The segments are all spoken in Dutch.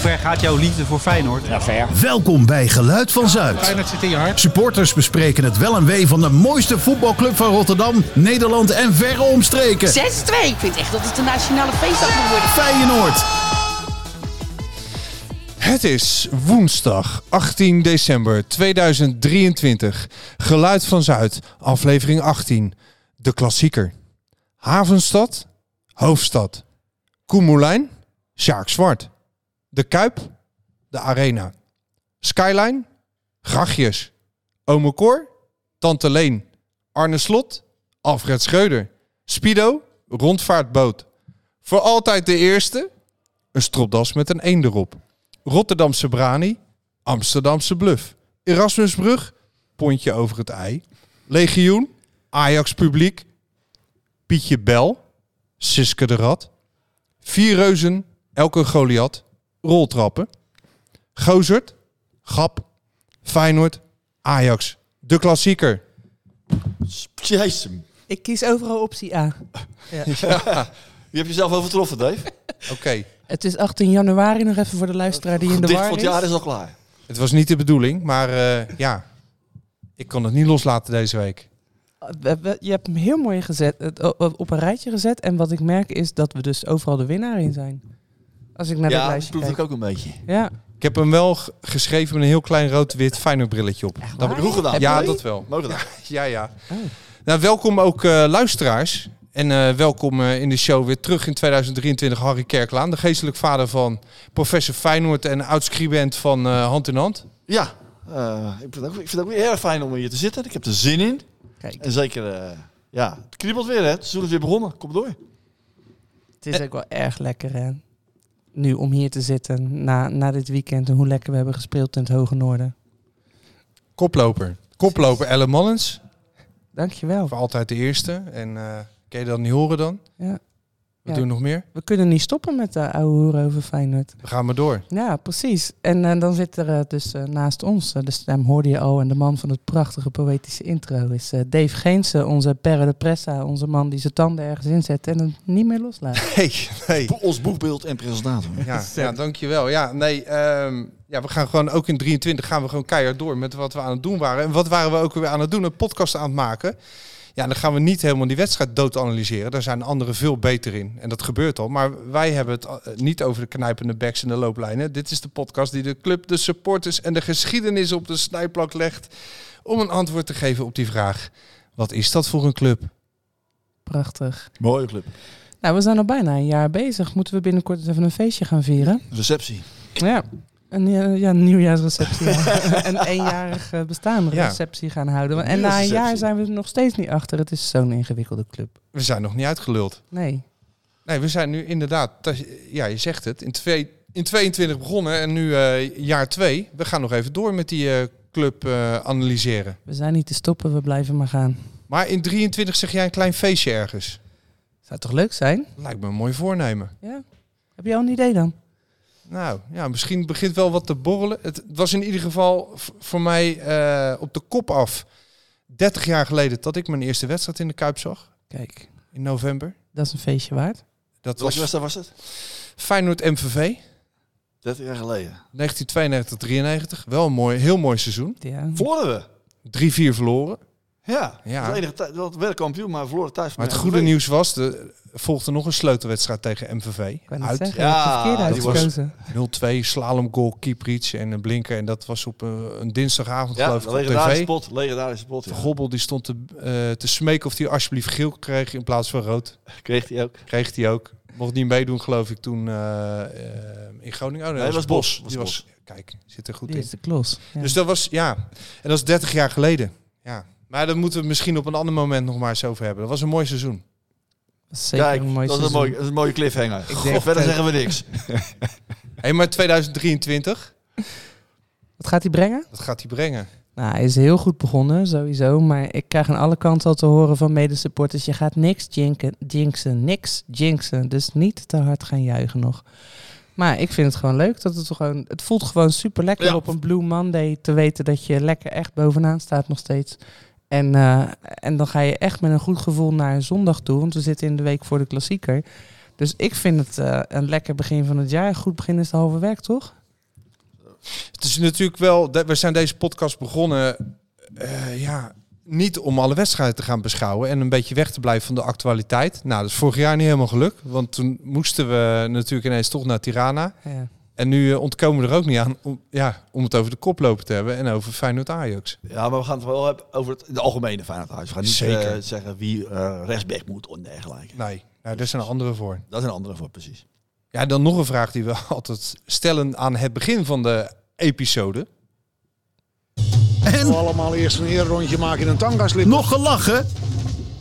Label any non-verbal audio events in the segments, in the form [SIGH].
ver gaat jouw liefde voor Feyenoord? Ja, ver. Welkom bij Geluid van Zuid. Feyenoord zit in je hart. Supporters bespreken het wel en wee van de mooiste voetbalclub van Rotterdam, Nederland en verre omstreken. 6-2. Ik vind echt dat het een nationale feestdag moet worden. Feyenoord. Het is woensdag 18 december 2023. Geluid van Zuid, aflevering 18. De klassieker. Havenstad, hoofdstad. Koen Moulijn, Sjaak Zwart. De Kuip, de Arena. Skyline, Grachtjes. Ome Cor, Tante Leen. Arne Slot, Alfred Schreuder. Spido, Rondvaartboot. Voor altijd de eerste, een stropdas met een eend erop. Rotterdamse Brani, Amsterdamse Bluff. Erasmusbrug, Pontje over het ei. Legioen, Ajax Publiek. Pietje Bel, Siske de Rad. Vier Reuzen, Elke Goliath, Roltrappen. Gozert, Gap, Feyenoord, Ajax. De klassieker. Jezus. Ik kies overal optie A. Je hebt jezelf overtroffen, Dave. Oké, Het is 18 januari, nog even voor de luisteraar die in de Dit war van het is. jaar is al klaar. het was niet de bedoeling, maar eh, ja, ik kon het niet loslaten deze week. We- we- Je hebt hem heel mooi gezet, het o- o- op een rijtje gezet. En wat ik merk is dat we dus overal de winnaar in zijn. Als ik naar dat Ja, dat lijstje proef kijk. ik ook een beetje. Ja. Ik heb hem wel g- geschreven met een heel klein rood-wit Feyenoord brilletje op. Dat Goed gedaan. Ja, dat wel. [LAUGHS] Mooi gedaan. Ja, ja. Oh. Nou, welkom ook eh, luisteraars. En eh, welkom eh, in de show weer terug in 2023 Harry Kerklaan. De geestelijk vader van professor Feyenoord en oudscribent van eh, Hand in Hand. Ja, eh, ik, vind het ook, ik vind het ook weer erg fijn om hier te zitten. Ik heb er zin in. Kijk, En zeker, eh, ja, het kriebelt weer, hè. Het seizoen is weer begonnen. Kom door. het Eh, is ook wel erg lekker hè. Nu om hier te zitten na, na dit weekend en hoe lekker we hebben gespeeld in het Hoge Noorden. Koploper. Koploper Ellen Mallens. Dankjewel. Voor altijd de eerste. En eh kan je dat niet horen dan? Ja. We Ja. doen nog meer. We kunnen niet stoppen met de oude hoer over Feyenoord. We gaan maar door. Ja, precies. En eh, dan zit er eh, dus eh, naast ons, eh, de stem hoorde je al, en de man van het prachtige poëtische intro is eh, Dave Geensen, onze perre de pressa, onze man die zijn tanden ergens inzet en hem niet meer [LAUGHS] loslaat. Hey, hey. Bo- ons boekbeeld en presentator. [LAUGHS] Ja, ja, dankjewel. Ja, nee, ehm, ja, we gaan gewoon ook in 23 gaan we gewoon keihard door met wat we aan het doen waren. En wat waren we ook weer aan het doen? Een podcast aan het maken. Ja, dan gaan we niet helemaal die wedstrijd dood analyseren. Daar zijn anderen veel beter in. En dat gebeurt al. Maar wij hebben het eh, niet over de knijpende backs en de looplijnen. Dit is de podcast die de club, de supporters en de geschiedenis op de snijplak legt. Om een antwoord te geven op die vraag. Wat is dat voor een club? Prachtig. Mooie club. Nou, we zijn al bijna een jaar bezig. Moeten we binnenkort eens even een feestje gaan vieren? Receptie. Ja. Een, eh, ja, een nieuwjaarsreceptie. ja. een eenjarig eh, bestaande Ja. receptie gaan houden. Een En na een jaar nieuwjaarsreceptie. zijn we er nog steeds niet achter. Het is zo'n ingewikkelde club. We zijn nog niet uitgeluld. Nee. Nee, we zijn nu inderdaad, dat- ja, je zegt het, in, twee, in 22 begonnen en nu eh, jaar 2. We gaan nog even door met die eh, club eh, analyseren. We zijn niet te stoppen, we blijven maar gaan. Maar in 23 zeg jij een klein feestje ergens. Zou toch leuk zijn? Lijkt me een mooi voornemen. Ja. Heb je al een idee dan? Nou, ja, misschien begint wel wat te borrelen. Het was in ieder geval v- voor mij eh, op de kop af 30 jaar geleden dat ik mijn eerste wedstrijd in de Kuip zag. Kijk, In november. dat is een feestje waard. Dat Welke was wedstrijd was het? Feyenoord MVV 30 jaar geleden. 1992-93. Wel een mooi, heel mooi seizoen. Ja. Verloren we. 3-4 verloren. Ja. Ja. ja. Dat enige tijd- dat werd kampioen, maar we verloren thuis. Maar het met goede MVV. nieuws was, er volgde nog een sleutelwedstrijd tegen MVV. Ik kan het Uit zeggen, ja, Ja, verkeerde die was- uitgekozen. 0-2, slalom goal, Kieprits en een blinker. En dat was op eh, een, een dinsdagavond Ja, geloof ik op legendarische tv. pot. Legendarische pot. Van Ja. Gobbel die stond te, eh, te smeken of hij alsjeblieft geel kreeg in plaats van rood. Kreeg hij ook. Kreeg hij ook. Mocht niet meedoen geloof ik toen eh, eh, in Groningen. Oh, nee, Nee, dat was was Bos. Bos. Die Was was, kijk, zit er goed Die in. is de klos. Ja. Dus dat was, ja. En dat is 30 jaar geleden. Ja. Maar daar moeten we het misschien op een ander moment nog maar eens over hebben. Dat was een mooi seizoen. Dat is zeker Kijk, een mooi dat, is een seizoen. mooie, dat is een mooie cliffhanger. denk Goh, verder dat- zeggen we niks. Hé, maar 2023, Wat gaat hij brengen? dat gaat hij brengen. Nou, hij is heel goed begonnen, sowieso. Maar ik krijg aan alle kanten al te horen van medesupporters... je gaat niks jinken, jinxen, niks jinxen. Dus niet te hard gaan juichen nog. Maar ik vind het gewoon leuk dat het gewoon... Het voelt gewoon super lekker Ja. op een Blue Monday... te weten dat je lekker echt bovenaan staat nog steeds. En, eh, en dan ga je echt met een goed gevoel naar zondag toe... want we zitten in de week voor de klassieker. Dus ik vind het eh, een lekker begin van het jaar. Goed begin is de halve werk, toch? Het is natuurlijk wel, dat- we zijn deze podcast begonnen, eh, ja, niet om alle wedstrijden te gaan beschouwen en een beetje weg te blijven van de actualiteit. Nou, dat is vorig jaar niet helemaal gelukt, want toen moesten we natuurlijk ineens toch naar Tirana. Ja. En nu eh, ontkomen we er ook niet aan om, ja, om het over de koploper te hebben en over Feyenoord-Ajax. Ja, maar we gaan het wel hebben over het, de algemene Feyenoord. We gaan niet Zeker. eh, zeggen wie eh rechtsback moet en dergelijke. Nee, nou, daar zijn anderen voor. Dat is een andere voor, precies. Ja, dan nog een vraag die we [LAUGHS] altijd stellen aan het begin van de episode. En allemaal eerst een eerrondje maken in een tangaslip. nog gelachen.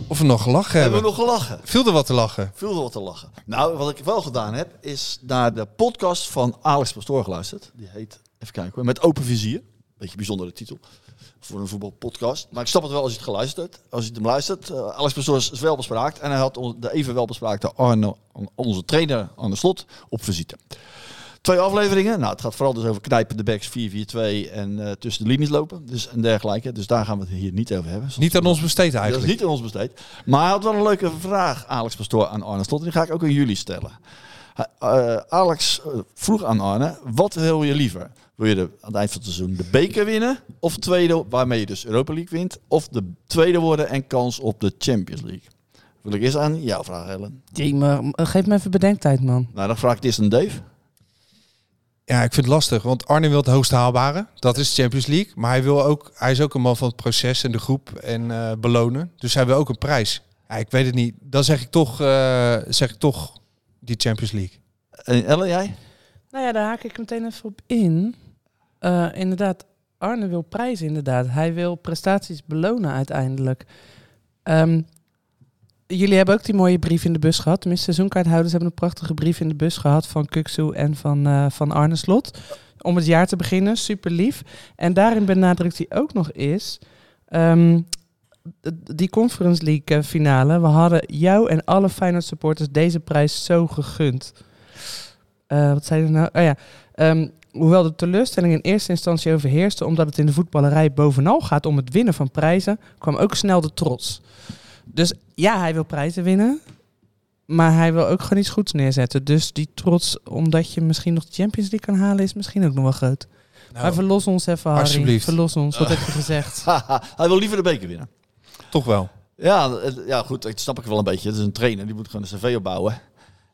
Of we nog gelachen Hebben hebben. we nog gelachen? Veel er wat te lachen. Veel er wat te lachen. Nou, wat ik wel gedaan heb, is naar de podcast van Alex Pastoor geluisterd. Die heet, even kijken hoor, Met Open Vizier. Beetje bijzondere titel voor een voetbalpodcast. Maar ik snap het wel als je het geluisterd hebt. Als je het hem luistert. Eh, Alex Pastoor is is wel bespraakt. En hij had on- de even wel bespraakte Arno, on- onze trainer aan de slot, op visite. Twee afleveringen. Nou, het gaat vooral dus over knijpen de backs 4-4-2 en eh, tussen de linies lopen. Dus, en dergelijke. Dus daar gaan we het hier niet over hebben. Niet aan ons besteed Dat is eigenlijk. niet aan ons besteed. Maar hij had wel een leuke vraag, Alex Pastoor, aan Arne Slot. Die ga ik ook aan jullie stellen. Hij- eh, Alex eh, vroeg aan Arne, wat wil je liever? Wil je de, aan het eind van het seizoen de beker winnen? Of tweede, waarmee je dus Europa League wint? Of de tweede worden en kans op de Champions League? Wil ik eerst aan jou vragen, Helen. Jee, maar eh, geef me even bedenktijd, man. Nou, dan vraag ik het eerst aan Dave. Ja, ik vind het lastig, want Arne wil het hoogst haalbare. Dat is de Champions League. Maar hij, wil ook, hij is ook een man van het proces en de groep en eh, belonen. Dus hij wil ook een prijs. Ja, ik weet het niet. Dan zeg ik toch, eh, zeg ik toch die Champions League. En Ellen, jij? [LAUGHS] Nou ja, daar haak ik meteen even op in. Eh, inderdaad, Arne wil prijzen, inderdaad. Hij wil prestaties belonen uiteindelijk. Ehm, jullie hebben ook die mooie brief in de bus gehad. Tenminste, seizoenkaarthouders hebben een prachtige brief in de bus gehad van Kuksu en van, eh, van Arne Slot. Om het jaar te beginnen, super lief. En daarin benadrukt hij ook nog eens... ehm, d- die Conference League eh, finale, we hadden jou en alle Feyenoord supporters deze prijs zo gegund. Eh, wat zei hij nou? Oh ja. Ehm, hoewel de teleurstelling in eerste instantie overheerste, omdat het in de voetballerij bovenal gaat om het winnen van prijzen, kwam ook snel de trots. Dus ja, hij wil prijzen winnen, maar hij wil ook gewoon iets goeds neerzetten. Dus die trots, omdat je misschien nog de Champions League kan halen, is misschien ook nog wel groot. Nou, Maar verlos ons even, Harry. Oh. alsjeblieft. Oh. Verlos ons, wat heb je gezegd? Haha, hij wil liever de beker winnen. Toch wel. Ja, het- ja, goed, dat snap ik wel een beetje. Het is een trainer, die moet gewoon een cv opbouwen.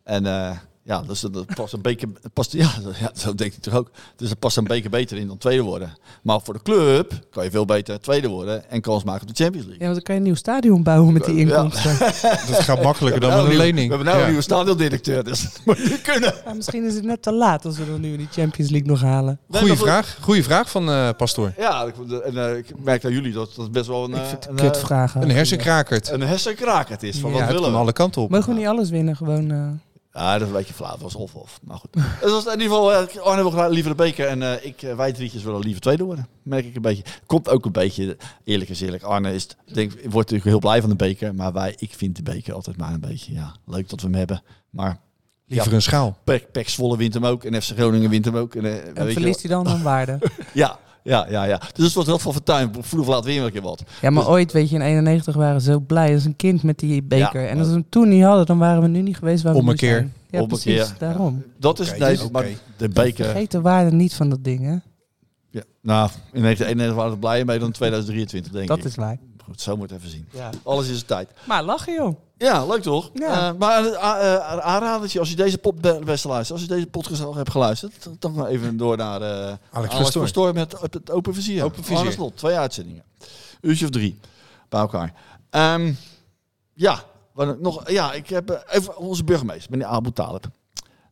En eh, ja, dus dat- dat past een beker... dat Past, ja, [LAUGHS] ja, zo denk ik toch ook. Dus dat past een beker beter in dan tweede worden. Maar voor de club kan je veel beter tweede worden en kans maken op de Champions League. Ja, want dan kan je een nieuw stadion bouwen met die Ja. inkomsten. [LAUGHS] [LAUGHS] Dat gaat makkelijker dan met Nou, een nieuw- lening. We hebben nou Ja. een nieuwe stadiondirecteur, dus [LAUGHS] dat moet niet kunnen. Maar misschien is het net te laat als we dan nu die Champions League nog halen. Goeie maar goed. vraag. Goeie vraag van eh Pastoor. Ja, ik, en, eh, ik merk aan jullie dat dat best wel een, Ik eh, vind het een, kut eh, vragen. Een hersenkrakert. een hersenkraak het is. Van Ja, wat het willen kan we? alle kanten op. Mogen we niet alles winnen? Gewoon. eh, Ja, dat is een beetje flauw. Dat was of-of. Maar goed. Het was in ieder geval, eh, Arne wil graag liever de beker. En eh, ik, eh, wij drietjes willen liever tweede worden. Merk ik een beetje. Komt ook een beetje, eerlijk is eerlijk. Arne is, denk, wordt natuurlijk heel blij van de beker. Maar wij, ik vind de beker altijd maar een beetje, ja, leuk dat we hem hebben. Maar Liever een schaal. Pek, Pek Zwolle wint hem ook. En FC Groningen wint hem ook. En, eh, en weet je verliest hij [LAUGHS] dan aan waarde? wel. Ja, ja, ja, ja. Dus het wordt wel van fortuin. Vroeg of laat weer een keer wat. Ja, maar ooit, weet je, in 91 waren ze zo blij als een kind met die beker. Ja, en als we hem toen niet hadden, dan waren we nu niet geweest waar we Om een nu keer. zijn. Ja, Om een precies. keer. Daarom. Dat is Oké, nee, dus- maar oké. de beker. Vergeet de waarde niet van dat ding, hè? Ja, nou, in 1991 waren we er blijer mee dan 2023, denk ik. Dat is waar. Goed, zo moet het even zien. Ja. Alles is de tijd. Maar lachen, joh. Ja, leuk toch? Ja. Eh, maar eh, a- eh, aanradertje, als je deze pop beste luistert, als je deze podcast al hebt geluisterd, dan maar even door naar eh, Alex Pastoor. Pastoor met het- het Open Vizier. Open Vizier. Arne Slot, twee uitzendingen. Uurtje of drie bij elkaar. Ehm, ja, wat nog, ja, ik heb eh, even onze burgemeester, meneer Abu Talib.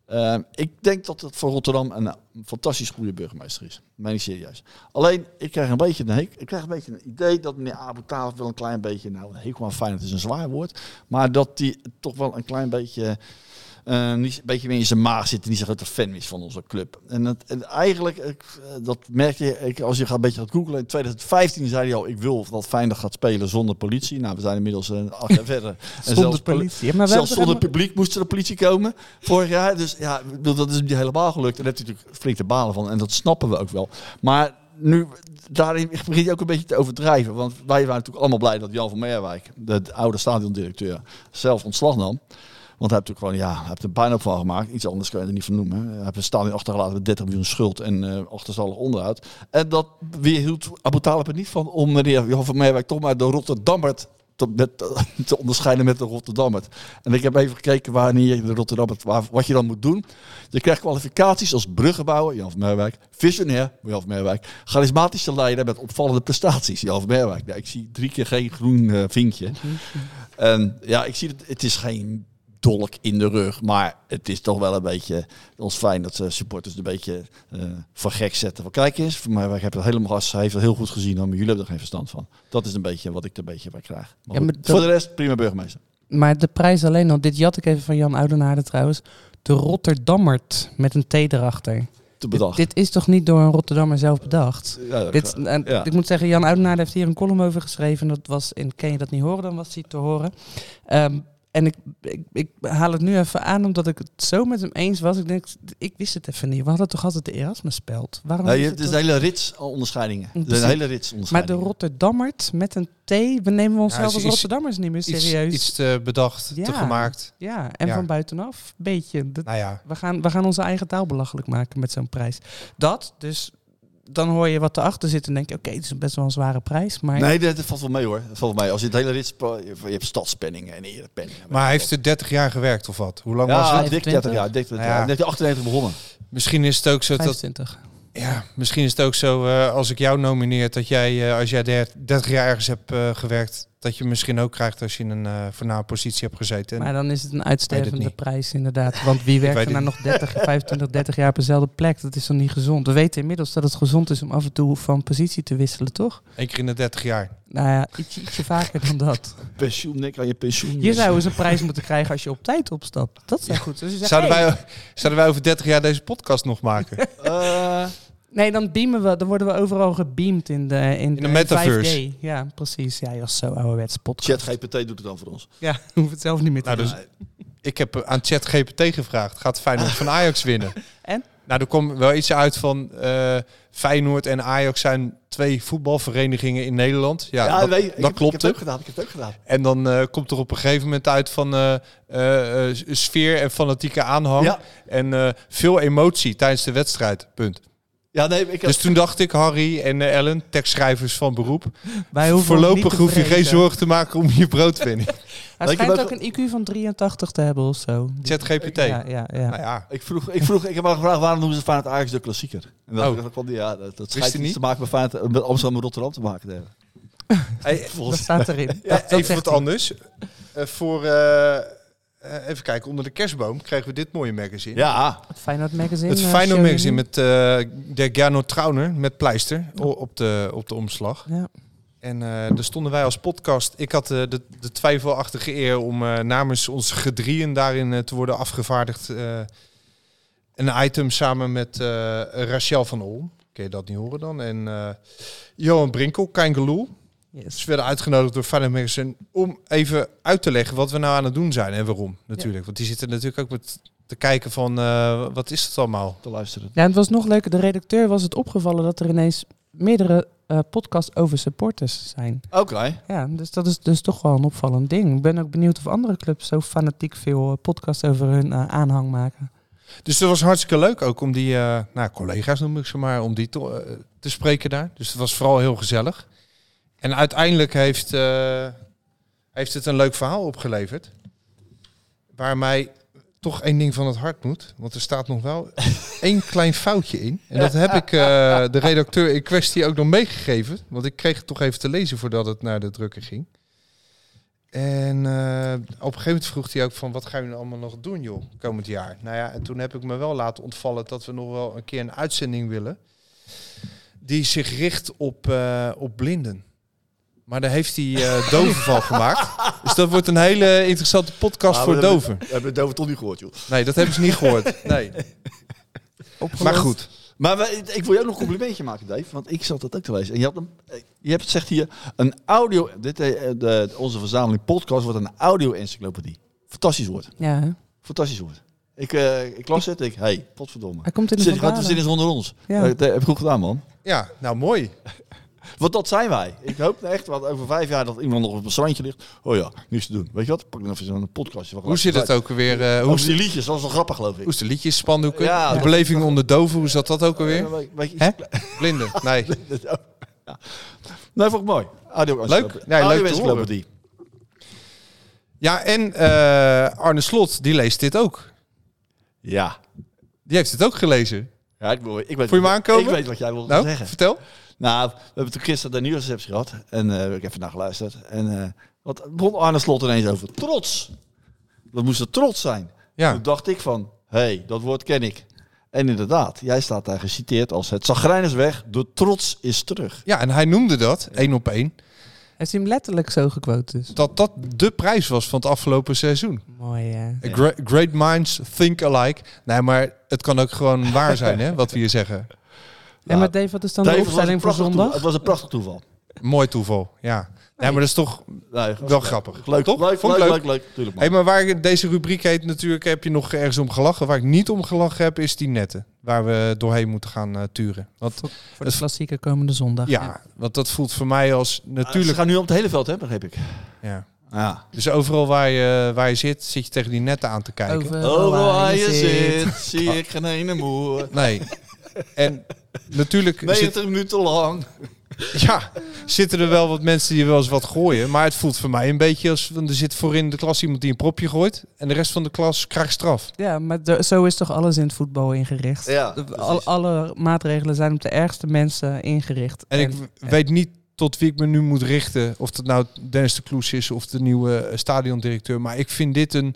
Ehm, ik denk dat het voor Rotterdam een eh, fantastisch goede burgemeester is. Meen ik serieus. Alleen, ik krijg een beetje een, hek- ik krijg een, beetje een idee dat meneer Abu Talib wel een klein beetje... Nou, een hekel aan Feyenoord is een zwaar woord. Maar dat hij toch wel een klein beetje... eh, niet, een beetje meer in zijn maag zit en niet zo'n grote fan is van onze club. En, dat, en eigenlijk, eh, dat merk je ik, als je gaat een beetje gaat googlen. In 2015 zei hij al, ik wil dat Feyenoord gaat spelen zonder politie. Nou, we zijn inmiddels een acht jaar [LAUGHS] verder. En zelfs Zonder poli- politie. Ja, maar we Zelfs hebben zonder toch publiek moest er de politie komen vorig jaar. Dus ja, ik bedoel, dat is niet helemaal gelukt. En daar heeft hij natuurlijk flink te balen van. En dat snappen we ook wel. Maar nu, daarin begint je ook een beetje te overdrijven. Want wij waren natuurlijk allemaal blij dat Jan van Meerwijk, de oude stadiondirecteur, zelf ontslag nam. Want hij heeft natuurlijk gewoon, ja, hij heeft er bijna van gemaakt. Iets anders kun je er niet van noemen. Hij heeft een stadion achtergelaten met 30 miljoen schuld en eh achterstallig onderhoud. En dat weerhield Abu Talib er niet van om meneer Johan van Meerwijk toch maar de Rotterdammert te, met, [LAUGHS] te onderscheiden met de Rotterdammert. En ik heb even gekeken wanneer je de Rotterdammert, waar, wat je dan moet doen. Je krijgt kwalificaties als bruggenbouwer, Jan van Meerwijk. Visionair, Jan van Meerwijk. Charismatische leider met opvallende prestaties, Jan van Meerwijk. Nou, ik zie drie keer geen groen eh, vinkje. En Ehm, ja, ik zie het. Het is geen dolk in de rug, maar het is toch wel een beetje ons fijn dat eh, supporters een beetje eh, van gek zetten. Van kijk eens, voor mij, wij hebben het helemaal gas. Hij heeft het heel goed gezien, maar jullie hebben er geen verstand van. Dat is een beetje wat ik er een beetje bij krijg. Maar Ja, goed, maar dat- Voor de rest, prima burgemeester. Maar de prijs alleen al, dit jat ik even van Jan Oudenaarde trouwens. De Rotterdammert met een T erachter. Te Dit, bedacht. dit is toch niet door een Rotterdammer zelf bedacht? Ja, Dit, en ja. Ik moet zeggen, Jan Oudenaarde heeft hier een column over geschreven. Dat was in Ken je dat niet horen, dan was die te horen. Ehm, en ik, ik, ik haal het nu even aan omdat ik het zo met hem eens was. Ik denk, ik wist het even niet. We hadden toch altijd de Erasmus-speld? Waarom Nee, is het is het toch- een hele rits aan onderscheidingen. Het is Precies. een hele rits Maar de onderscheidingen. Rotterdammert met een T, we nemen Ja, onszelf is als iets- Rotterdammers niet meer Iets, serieus. iets te bedacht, Ja. te gemaakt. ja, en Ja. van buitenaf, beetje. Dat- Nou ja, We gaan, we gaan onze eigen taal belachelijk maken met zo'n prijs. Dat, dus dan hoor je wat erachter zit en denk je, oké, het is best wel een zware prijs. Maar Nee, dat, dat valt wel mee hoor. Dat valt wel mee. Als je het hele rits... Je hebt stadspenningen en erepenningen. maar hij heeft er 30 jaar gewerkt of wat? Hoe lang was Ja, het? dik 30 jaar. Dik 30 Ja. jaar. 1998 begonnen. Misschien is het ook zo dat 25. Ja, misschien is het ook zo eh, als ik jou nomineer dat jij, eh, als jij der- 30 jaar ergens hebt eh, gewerkt, dat je misschien ook krijgt als je in een eh voornaam positie hebt gezeten. En Maar dan is het een Ik uitstervende weet het prijs inderdaad. [LAUGHS] Want wie werkt weet er het nou nog 30, 25, 30 jaar op dezelfde plek? Dat is dan niet gezond. We weten inmiddels dat het gezond is om af en toe van positie te wisselen, toch? één keer in de 30 jaar. Nou ja, ietsje, ietsje vaker dan dat. Pensioen, Nick, aan je pensioen. Je zou eens een prijs moeten krijgen als je op tijd opstapt. Dat zou goed. Dus je zegt, Zouden, hey, wij, zouden wij over 30 jaar deze podcast nog [LAUGHS] maken? Eh, Nee, dan beamen we, dan worden we overal gebeamd in de in, de metaverse. 5D. Ja, precies. Ja, joh, zo ouderwets podcast. ChatGPT doet het dan voor ons. Ja, [LAUGHS] hoef het zelf niet meer te Nou, doen. dus ik heb eh, aan ChatGPT gevraagd, gaat [LAUGHS] Feyenoord van Ajax winnen? En? Nou, er komt wel iets uit van eh, Feyenoord en Ajax zijn twee voetbalverenigingen in Nederland. Ja, dat, nee, dat klopt Ik heb het hè? ook gedaan. Ik heb het ook gedaan. En dan eh, komt er op een gegeven moment uit van eh, eh, eh, s- sfeer en fanatieke aanhang. Ja. En eh, veel emotie tijdens de wedstrijd. Punt. Ja, nee, ik heb... Dus toen dacht ik, Harry en eh, Ellen, tekstschrijvers van beroep. Wij hoeven ons niet voorlopig te hoef je geen vrezen. zorgen te maken om je broodwinning. Hij Weet je schijnt wat- ook een IQ van 83 te hebben of [LAUGHS] zo. ChatGPT. Ja, ja, ja. Nou ja, Ik vroeg, ik vroeg, ik heb haar gevraagd waarom noemen ze Feyenoord Ajax de klassieker. En dat, Oh. dat, kwam die, ja, dat, dat je schijnt niet? niet te maken met, Feyenoord, met Amsterdam en Rotterdam te maken te hebben. Hey, Dat Volgens staat [LAUGHS] erin. Dat- dat even zegt wat anders. Eh, voor, eh, eh, even kijken, onder de kerstboom kregen we dit mooie magazine. Ja, het Feyenoord Magazine. Het eh, Feyenoord show magazine je nu. met eh de Gernot Trauner met pleister o- op de, op de omslag. Ja. En eh, daar stonden wij als podcast. Ik had eh, de, de twijfelachtige eer om eh, namens ons gedrieën daarin eh, te worden afgevaardigd. eh, een item samen met eh, Rachel van Olm. Kun je dat niet horen dan? En eh, Johan Brinkel, Kein Geloel. Yes. Ze werden uitgenodigd door Feyenoord Magazine om even uit te leggen wat we nou aan het doen zijn en waarom natuurlijk. Want die zitten natuurlijk ook met te kijken van eh, wat is het allemaal? te luisteren. Ja, en het was nog leuker. De redacteur was het opgevallen dat er ineens meerdere eh, podcasts over supporters zijn. Oké. Ja, dus dat is dus toch wel een opvallend ding. Ik ben ook benieuwd of andere clubs zo fanatiek veel eh, podcasts over hun eh, aanhang maken. Dus dat was hartstikke leuk ook om die eh, nou, collega's noem ik ze maar, om die te, eh, te spreken daar. Dus het was vooral heel gezellig. En uiteindelijk heeft, eh, heeft het een leuk verhaal opgeleverd. Waar mij toch één ding van het hart moet. Want er staat nog [LAUGHS] wel één klein foutje in. En dat heb ik eh, de redacteur in kwestie ook nog meegegeven. Want ik kreeg het toch even te lezen voordat het naar de drukker ging. En eh, op een gegeven moment vroeg hij ook van wat gaan jullie allemaal nog doen joh, komend jaar. Nou ja, en toen heb ik me wel laten ontvallen dat we nog wel een keer een uitzending willen. Die zich richt op, eh, op blinden. Maar daar heeft hij eh [LAUGHS] doven van gemaakt. Dus dat wordt een hele interessante podcast Ah, we voor hebben- doven. We hebben het over toch niet gehoord, joh. Nee, dat hebben ze niet gehoord. Nee. Maar goed. Maar we- ik wil jou nog een complimentje maken, Dave. Want ik zat dat ook te lezen. En je, had een, je hebt, zegt hier, een audio... Dit, eh, de, onze verzameling podcast wordt een audio-encyclopedie. Fantastisch woord. Ja, hè? Fantastisch woord. Ik, eh, ik las het en ik, hey, potverdomme. hij komt in de Zit, wat de vandalen. zin is onder ons. Ja. Eh, dat heb ik goed gedaan, man. Ja, nou mooi. Want dat zijn wij. Ik hoop nou echt wat over vijf jaar dat iemand nog op een strandje ligt. Oh ja, niks te doen. Weet je wat? Pak dan even zo'n podcastje. Hoe zit het ook weer? eh, hoe, Hoe is- die liedjes? Dat was wel grappig, geloof ik. hoe is de liedjes, spandoeken? Ja. de beleving onder doven, hoe zat dat ook alweer? Eh, weet- weet je- Hè? Blinden, nee. Ja. Nee, vond ik mooi. Audio Leuk. Nee, leuk te Encyclopedie. Ja, en eh, Arne Slot, die leest dit ook. Ja. Die heeft het ook gelezen. Ja, ik, wil- ik weet, Voel je me aankomen? Ik weet wat jij wil Nou, zeggen. vertel. Nou, we hebben toen gisteren de nieuwsreceptie gehad. En eh, ik heb even naar geluisterd. En eh, wat begon Arne Slot ineens over? Trots. We moesten trots zijn. Ja. Toen dacht ik van, hé, hey, dat woord ken ik. En inderdaad, jij staat daar geciteerd als het zagrijn is weg, de trots is terug. Ja, en hij noemde dat, één op één, Heeft hij hem letterlijk zo gequote dus? dat dat de prijs was van het afgelopen seizoen. Mooi, ja. A gra- Great minds think alike. Nee, maar het kan ook gewoon waar zijn, hè, wat we hier zeggen. En maar Dave, wat is dan de Dave, het was een opstelling voor prachtig toeval. zondag? Het was een prachtig toeval. Mooi toeval, ja. Nee, maar dat is toch Nee, wel grappig. leuk, toch? Leuk, Vond ik leuk, leuk. leuk, leuk. Tuurlijk, man. Hey, maar waar deze rubriek heet natuurlijk, heb je nog ergens om gelachen. Waar ik niet om gelachen heb, is die netten. Waar we doorheen moeten gaan eh, turen. Want, Voor, voor de klassieker komende zondag. ja, want dat voelt voor mij als Ze natuurlijk. gaan nu om het hele veld, hè, begreep ik. Ja. Ja. Dus overal waar je, waar je zit, zit je tegen die netten aan te kijken. Over Overal waar je zit, zie ik geen ene moer. [LAUGHS] Nee. En natuurlijk zit- 90 minuten lang. ja, zitten er wel wat mensen die wel eens wat gooien. Maar het voelt voor mij een beetje als... want Er zit voorin de klas iemand die een propje gooit. En de rest van de klas krijgt straf. Ja, maar de- zo is toch alles in het voetbal ingericht? Ja, De- precies. al- alle maatregelen zijn op de ergste mensen ingericht. En ik w- weet niet tot wie ik me nu moet richten. Of dat nou Dennis de Kloes is of de nieuwe eh, stadiondirecteur. Maar ik vind dit een,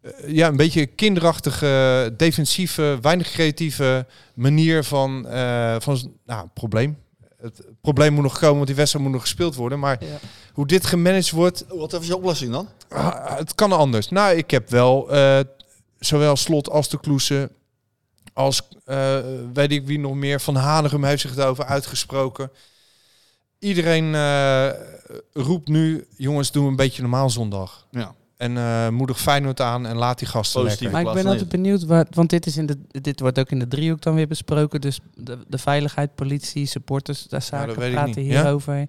eh, ja, een beetje kinderachtige, defensieve, weinig creatieve manier van, eh, van z- nou, een probleem. Het probleem moet nog komen, want die wedstrijd moet nog gespeeld worden. Maar Ja. hoe dit gemanaged wordt, Wat was je oplossing dan? ah, het kan anders. Nou, ik heb wel eh, zowel Slot als de Kloesen, als eh, weet ik wie nog meer, Van Hanegem heeft zich daarover uitgesproken. Iedereen eh, roept nu, jongens, doe een beetje normaal zondag. Ja. En eh, moedig Feyenoord aan en laat die gasten Positief. lekker. Maar ik ben altijd benieuwd, wat, want dit, is in de, dit wordt ook in de driehoek dan weer besproken. Dus de, de veiligheid, politie, supporters, daar zaken Nou, weet ik praten niet. Ja? hierover.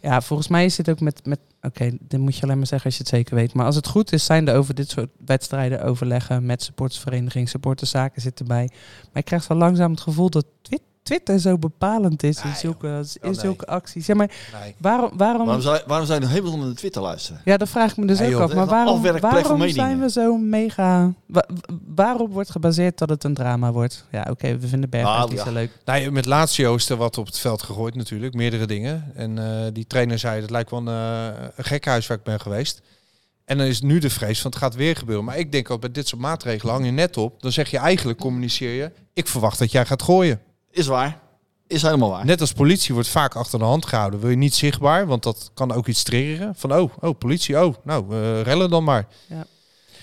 Ja? volgens mij is dit ook met... met Oké, dit moet je alleen maar zeggen als je het zeker weet. Maar als het goed is, zijn er over dit soort wedstrijden overleggen met supportersvereniging, supporterszaken zit erbij. Maar ik krijg wel langzaam het gevoel dat Twi- Twitter zo bepalend is in Ah, zulke, in nee. zulke acties. Ja, maar Nee. waarom, waarom, Waarom zou, waarom zou je nog helemaal onder de Twitter luisteren? ja, dat vraag ik me dus Ja, ook joh, af. dat Maar is een waarom, afwerkplek van waarom meningen. zijn we zo mega... wa- wa- waarop wordt gebaseerd dat het een drama wordt? Ja, oké, we vinden Berghuis Nou, niet ja. zo leuk. Nou, met Lazio is er wat op het veld gegooid natuurlijk, meerdere dingen. En eh, die trainer zei, het lijkt wel een, eh, een gekhuis waar ik ben geweest. En dan is nu de vrees van het gaat weer gebeuren. Maar ik denk al bij dit soort maatregelen hang je net op. Dan zeg je eigenlijk, communiceer je, ik verwacht dat jij gaat gooien. Is waar. Is helemaal waar. Net als politie wordt vaak achter de hand gehouden. Wil je niet zichtbaar, want dat kan ook iets triggeren. Van oh, oh politie, oh, nou, eh, rellen dan maar. Ja.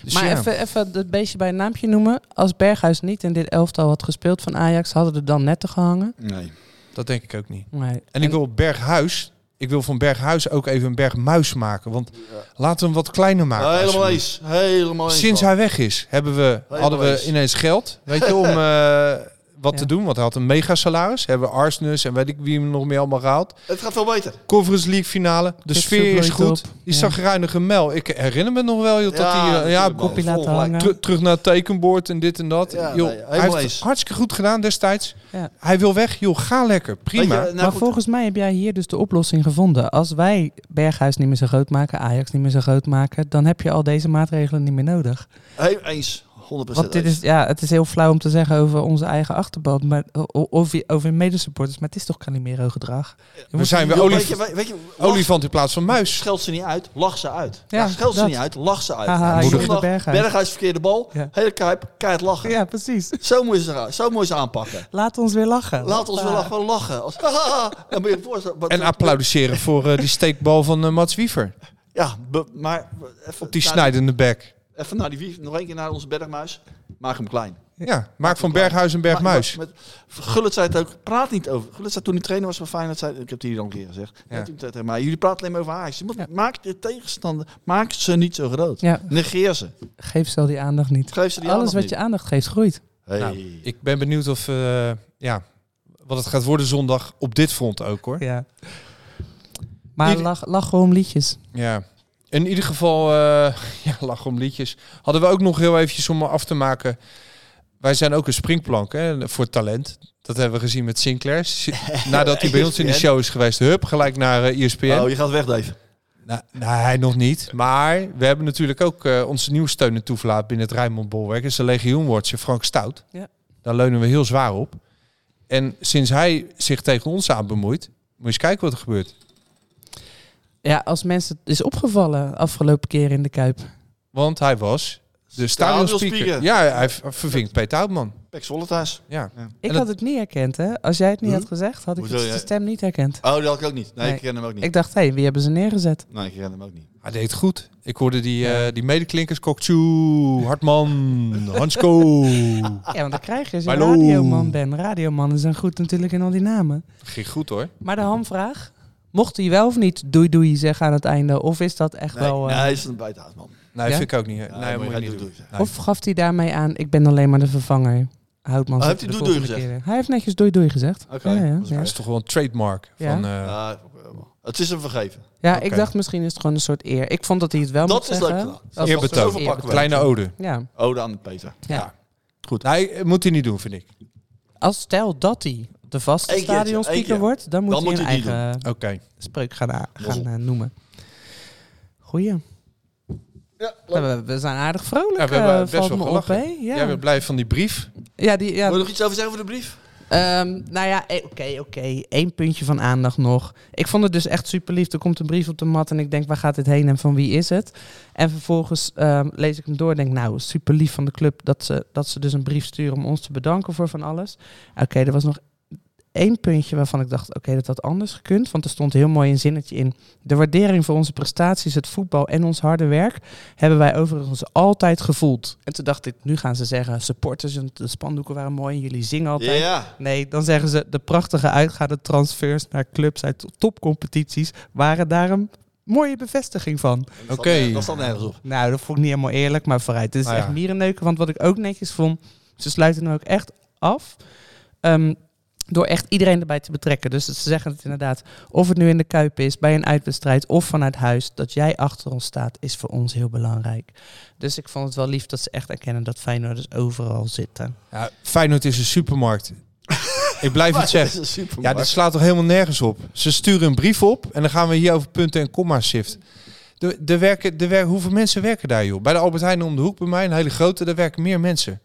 Dus maar ja. even, even het beestje bij een naampje noemen. Als Berghuis niet in dit elftal had gespeeld van Ajax, hadden er dan netten gehangen. Nee. dat denk ik ook niet. Nee. En ik wil Berghuis, ik wil van Berghuis ook even een Bergmuis maken. Want laten we hem wat kleiner maken. helemaal alsjeblieft. eens. Helemaal eens. Sinds hij weg is, hebben we, Helemaal hadden we eens. ineens geld weet [LAUGHS] je, om eh, wat Ja. te doen. Want hij had een mega salaris. Hebben we Arsnes en weet ik wie hem nog meer allemaal gehaald. Het gaat veel beter. Conference League finale. De Dit sfeer is bloeit goed. op. Die Ja. zagruinige mel. Ik herinner me nog wel joh, dat hij... eh, ja, natuurlijk, man. kopie laten Vol gelijk. hangen. teru- terug naar het tekenbord en dit en dat. Ja, joh, nee, helemaal hij heeft het eens. hartstikke goed gedaan destijds. Ja. Hij wil weg. Joh, ga lekker. Weet je, Prima. nou maar goed. volgens mij heb jij hier dus de oplossing gevonden. Als wij Berghuis niet meer zo groot maken, Ajax niet meer zo groot maken, dan heb je al deze maatregelen niet meer nodig. Helemaal eens. 100% Want dit eens. is, ja, het is heel flauw om te zeggen over onze eigen achterban, maar, o- o- of je- over medesupporters, maar het is toch Calimero gedrag? we zijn Joh, weer weet je, olif- weet- weet je, lach- olifant in plaats van muis. Scheld ze niet uit, lach ze uit. Ja, Ja, scheld ze dat. niet uit, lach ze uit. Haha, Ja, moeder. zondag, Berghuis. Berghuis verkeerde bal. Ja. Hele kuip, keihard lachen. Ja, precies. Zo moet je ze, zo moet je ze aanpakken. Laat ons weer lachen. Laat ons wel Ah. gewoon lachen. Als, [LAUGHS] dan moet je je voorstellen. wat- En applaudisseren voor eh, die steekbal van eh, Mats Wiever. Ja, be- maar even, Op die naar- snijdende bek. Even naar die wief, nog één keer naar onze bergmuis. Maak hem klein. Ja, maak van Berghuis een Bergmuis. Maar- maar- met- Gullit zei het ook, praat niet over. Gullit zei toen hij trainer was van Feyenoord, zei, ik heb het hier al een keer gezegd. Ja. Ja. Toen zei hij tegen mij, jullie praten alleen maar over Ajax. Je moet- Ja. Maak de tegenstander, maak ze niet zo groot. Ja. Negeer ze. Geef ze al die aandacht niet. Geef ze die Alles aandacht wat niet. je aandacht geeft groeit. Hey. Nou, ik ben benieuwd of, eh, ja, wat Wat het gaat worden zondag op dit front ook hoor. Ja. Maar Ieder- lach, lach gewoon om liedjes. Ja. In ieder geval, eh [LAUGHS] ja, lach om liedjes. Hadden we ook nog heel eventjes om af te maken. Wij zijn ook een springplank hè, voor talent. Dat hebben we gezien met Sinclair. [LAUGHS] Si- Nadat hij bij ons in de show is geweest, hup, gelijk naar eh, ESPN. Oh, je gaat weg, Dave. Nou, nee, nog niet. Maar we hebben natuurlijk ook eh, onze nieuwe steun en toeverlaat binnen het Rijnmond Bolwerk. Dat is de legioenwoordje Frank Stout. Ja. Daar leunen we heel zwaar op. En sinds hij zich tegen ons aan bemoeit, moet je eens kijken wat er gebeurt. Ja, als mensen het is opgevallen afgelopen keer in de Kuip. Want hij was de stadionspeaker. Stadionspeaker. Ja, hij v- vervinkt Peter Houtman. Pek Zwolle thuis. Ja. Ik dat- had het niet herkend, hè? Als jij het niet Hm? had gezegd, had ik Hoezo het de jij- stem niet herkend. Oh, dat had ik ook niet. Nee, Nee. ik ken hem ook niet. Ik dacht, hé, wie hebben ze neergezet? Nee, ik ken hem ook niet. Hij deed het goed. Ik hoorde die, eh, die medeklinkers, Kokchu, Hartman, Hansko. Ja, want dan krijg je als je Hallo. radioman bent. Radiomannen zijn goed natuurlijk in al die namen. Ging goed hoor. Maar de hamvraag, mocht hij wel of niet doei doei zeggen aan het einde? Of is dat echt Nee, wel... eh, nee, hij is een buitenhaat, man. Nee, Ja? vind ik ook niet. Ja, nee, moet moet je je geen niet doe- doen. doe Nee. Of gaf hij daarmee aan, ik ben alleen maar de vervanger? Houtman Oh, zegt heeft hij de doei doei volgende gezegd? keer. Hij heeft netjes doei doei gezegd. Oké, Ja, ja, dat is ja. Dat is toch wel een trademark Ja. van... eh, Ja, het is hem vergeven. Ja, Oké. ik dacht misschien is het gewoon een soort eer. Ik vond dat hij het wel Dat moest is leuk zeggen. gedaan. was Eerbetoon. een soort Overpakken we. Kleine ode. Ja. Ode aan Peter. Ja. Ja. Nee, moet hij niet doen, vind ik. Als stel dat hij de vaste Eén keertje, één stadionspeaker keer. wordt, dan moet Dan hij moet een hij die eigen Oké. spreuk gaan, a- Ja. gaan eh, noemen. Goeie. Ja, Nou, we, we zijn aardig vrolijk, Ja, ja, we hebben best valt wel me op, gelachen. hè? Ja. Jij bent blij van die brief. ja, die, ja. Wil je nog iets over zeggen voor de brief? Ehm, nou ja, eh, oké, oké. Eén puntje van aandacht nog. Ik vond het dus echt super lief. Er komt een brief op de mat en ik denk, waar gaat dit heen en van wie is het? En vervolgens ehm, lees ik hem door en denk, nou, super lief van de club dat ze, dat ze dus een brief sturen om ons te bedanken voor van alles. Oké, er was nog één puntje waarvan ik dacht, oké, dat had anders gekund. Want er stond heel mooi een zinnetje in. De waardering voor onze prestaties, het voetbal en ons harde werk hebben wij overigens altijd gevoeld. En toen dacht ik, nu gaan ze zeggen, supporters, en de spandoeken waren mooi en jullie zingen altijd. Ja. Nee, dan zeggen ze de prachtige uitgaande transfers naar clubs uit topcompetities waren daar een mooie bevestiging van. Dat Oké. staat- Dat staat nergens op. Nou, dat vond ik niet helemaal eerlijk, maar vooruit. Dit is Nou ja. echt mierenneuken, want wat ik ook netjes vond, ze sluiten hem ook echt af. ehm, door echt iedereen erbij te betrekken. Dus ze zeggen het inderdaad, of het nu in de Kuip is, bij een uitwedstrijd of vanuit huis, dat jij achter ons staat, is voor ons heel belangrijk. Dus ik vond het wel lief dat ze echt erkennen dat Feyenoorders overal zitten. Ja, Feyenoord is een [LAUGHS] supermarkt. ik blijf het [LAUGHS] Dat is zeggen. een Ja, supermarkt. dit slaat toch helemaal nergens op. Ze sturen een brief op en dan gaan we hier over punten en comma's shift. De, de werken, de wer, hoeveel mensen werken daar, joh? Bij de Albert Heijn om de hoek, bij mij, een hele grote, daar werken meer mensen.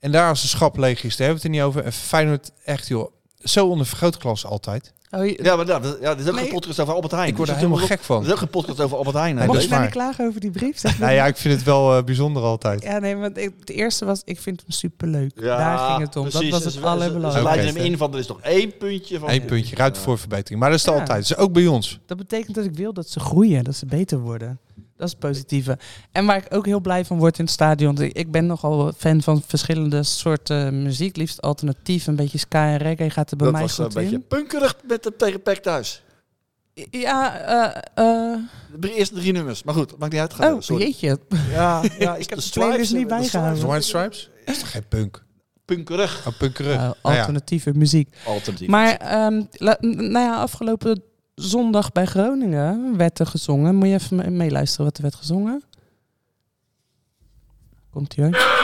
En daar als de schap leeg is, daar hebben we het er niet over. En Feyenoord, echt joh, zo onder vergrootglas altijd. Oh, je- Ja, maar dat, dat- ja, dit is ook Nee. geen podcast over Albert Heijn. Ik word er Dus dat helemaal doen we gek van. ook- Er is ook geen podcast over Albert Heijn. hè, Nee, Mag dat je is Dave? nou waar. niet klagen over die [LAUGHS] brief? Zeg Nou ja, ik vind het wel eh, bijzonder altijd. Ja, nee, want ik, het eerste was, ik vind hem superleuk. Ja, Daar ging het om. precies. Dus Ze- dat was ze- het ze- Ze allerbelangrijkste. leiden hem in van, er is nog één puntje van... Eén puntje, ruimte voor verbetering. Maar dat is het Ja. altijd. Dat is ook bij ons. Dat betekent dat ik wil dat ze groeien, dat ze beter worden. Dat is het positieve. En waar ik ook heel blij van word in het stadion. want Ik ben nogal fan van verschillende soorten muziek. Liefst alternatief, een beetje ska en reggae gaat er bij Dat mij was eh, goed een beetje in. punkerig met de tegen Peck thuis. Ja, eh, eh, De drie- eerste drie nummers. Maar goed, maakt niet uit. Ga oh, door, sorry. jeetje. Ja, [LAUGHS] ja, Ik heb de de playlist Stripes, niet de bijgehouden. Stripes. White Stripes? Dat is toch geen punk? Punkerig. Oh, punkerig. Eh, Nou ja. [LAUGHS] alternatieve muziek. Alternatief. Maar ehm, la- n- nou ja, afgelopen zondag bij Groningen werd er gezongen. Moet je even me- meeluisteren wat er werd gezongen? Komt ie hoor.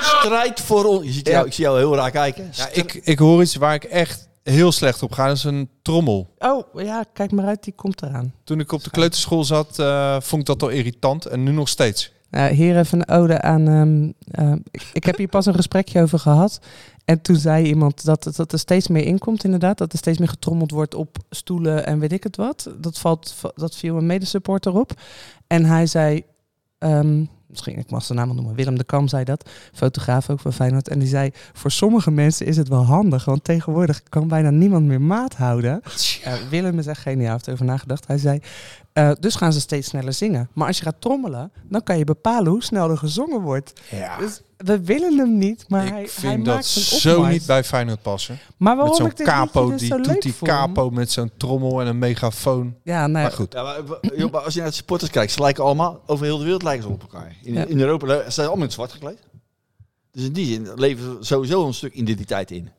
Strijd voor ons. Je ziet jou, Ik zie jou heel raar kijken. Ja, ik, ik hoor iets waar ik echt heel slecht op ga. Dat is een trommel. Oh ja, kijk maar uit, die komt eraan. Toen ik op de kleuterschool zat, eh, vond ik dat al irritant. En nu nog steeds. Nou, hier even een ode aan. ehm, ehm, ik, ik heb hier pas een gesprekje over gehad. En toen zei iemand dat, het- dat er steeds meer inkomt, inderdaad. Dat er steeds meer getrommeld wordt op stoelen en weet ik het wat. Dat, valt, va- dat viel een medesupporter op. En hij zei. ehm, misschien, ik mag zijn naam wel noemen. Willem de Kam zei dat. Fotograaf ook van Feyenoord. En die zei: Voor sommige mensen is het wel handig. Want tegenwoordig kan bijna niemand meer maat houden. Eh, Willem is echt geniaal. Heeft over nagedacht. Hij zei: eh, dus gaan ze steeds sneller zingen. Maar als je gaat trommelen, dan kan je bepalen hoe snel er gezongen wordt. Ja. Dus we willen hem niet, maar hij, ik hij vind maakt dat een zo opmars. niet bij Feyenoord passen. Maar waarom met zo'n ik dit liedje capo, dus die zo doet leuk die vond? capo met zo'n trommel en een megafoon. Ja, nou, Maar goed, Ja, maar, w- joh, maar als je naar de supporters kijkt, ze lijken allemaal, over heel de wereld lijken ze op elkaar. In, Ja. in Europa le- ze zijn allemaal in het zwart gekleed. Dus in die zin leven ze sowieso een stuk identiteit in.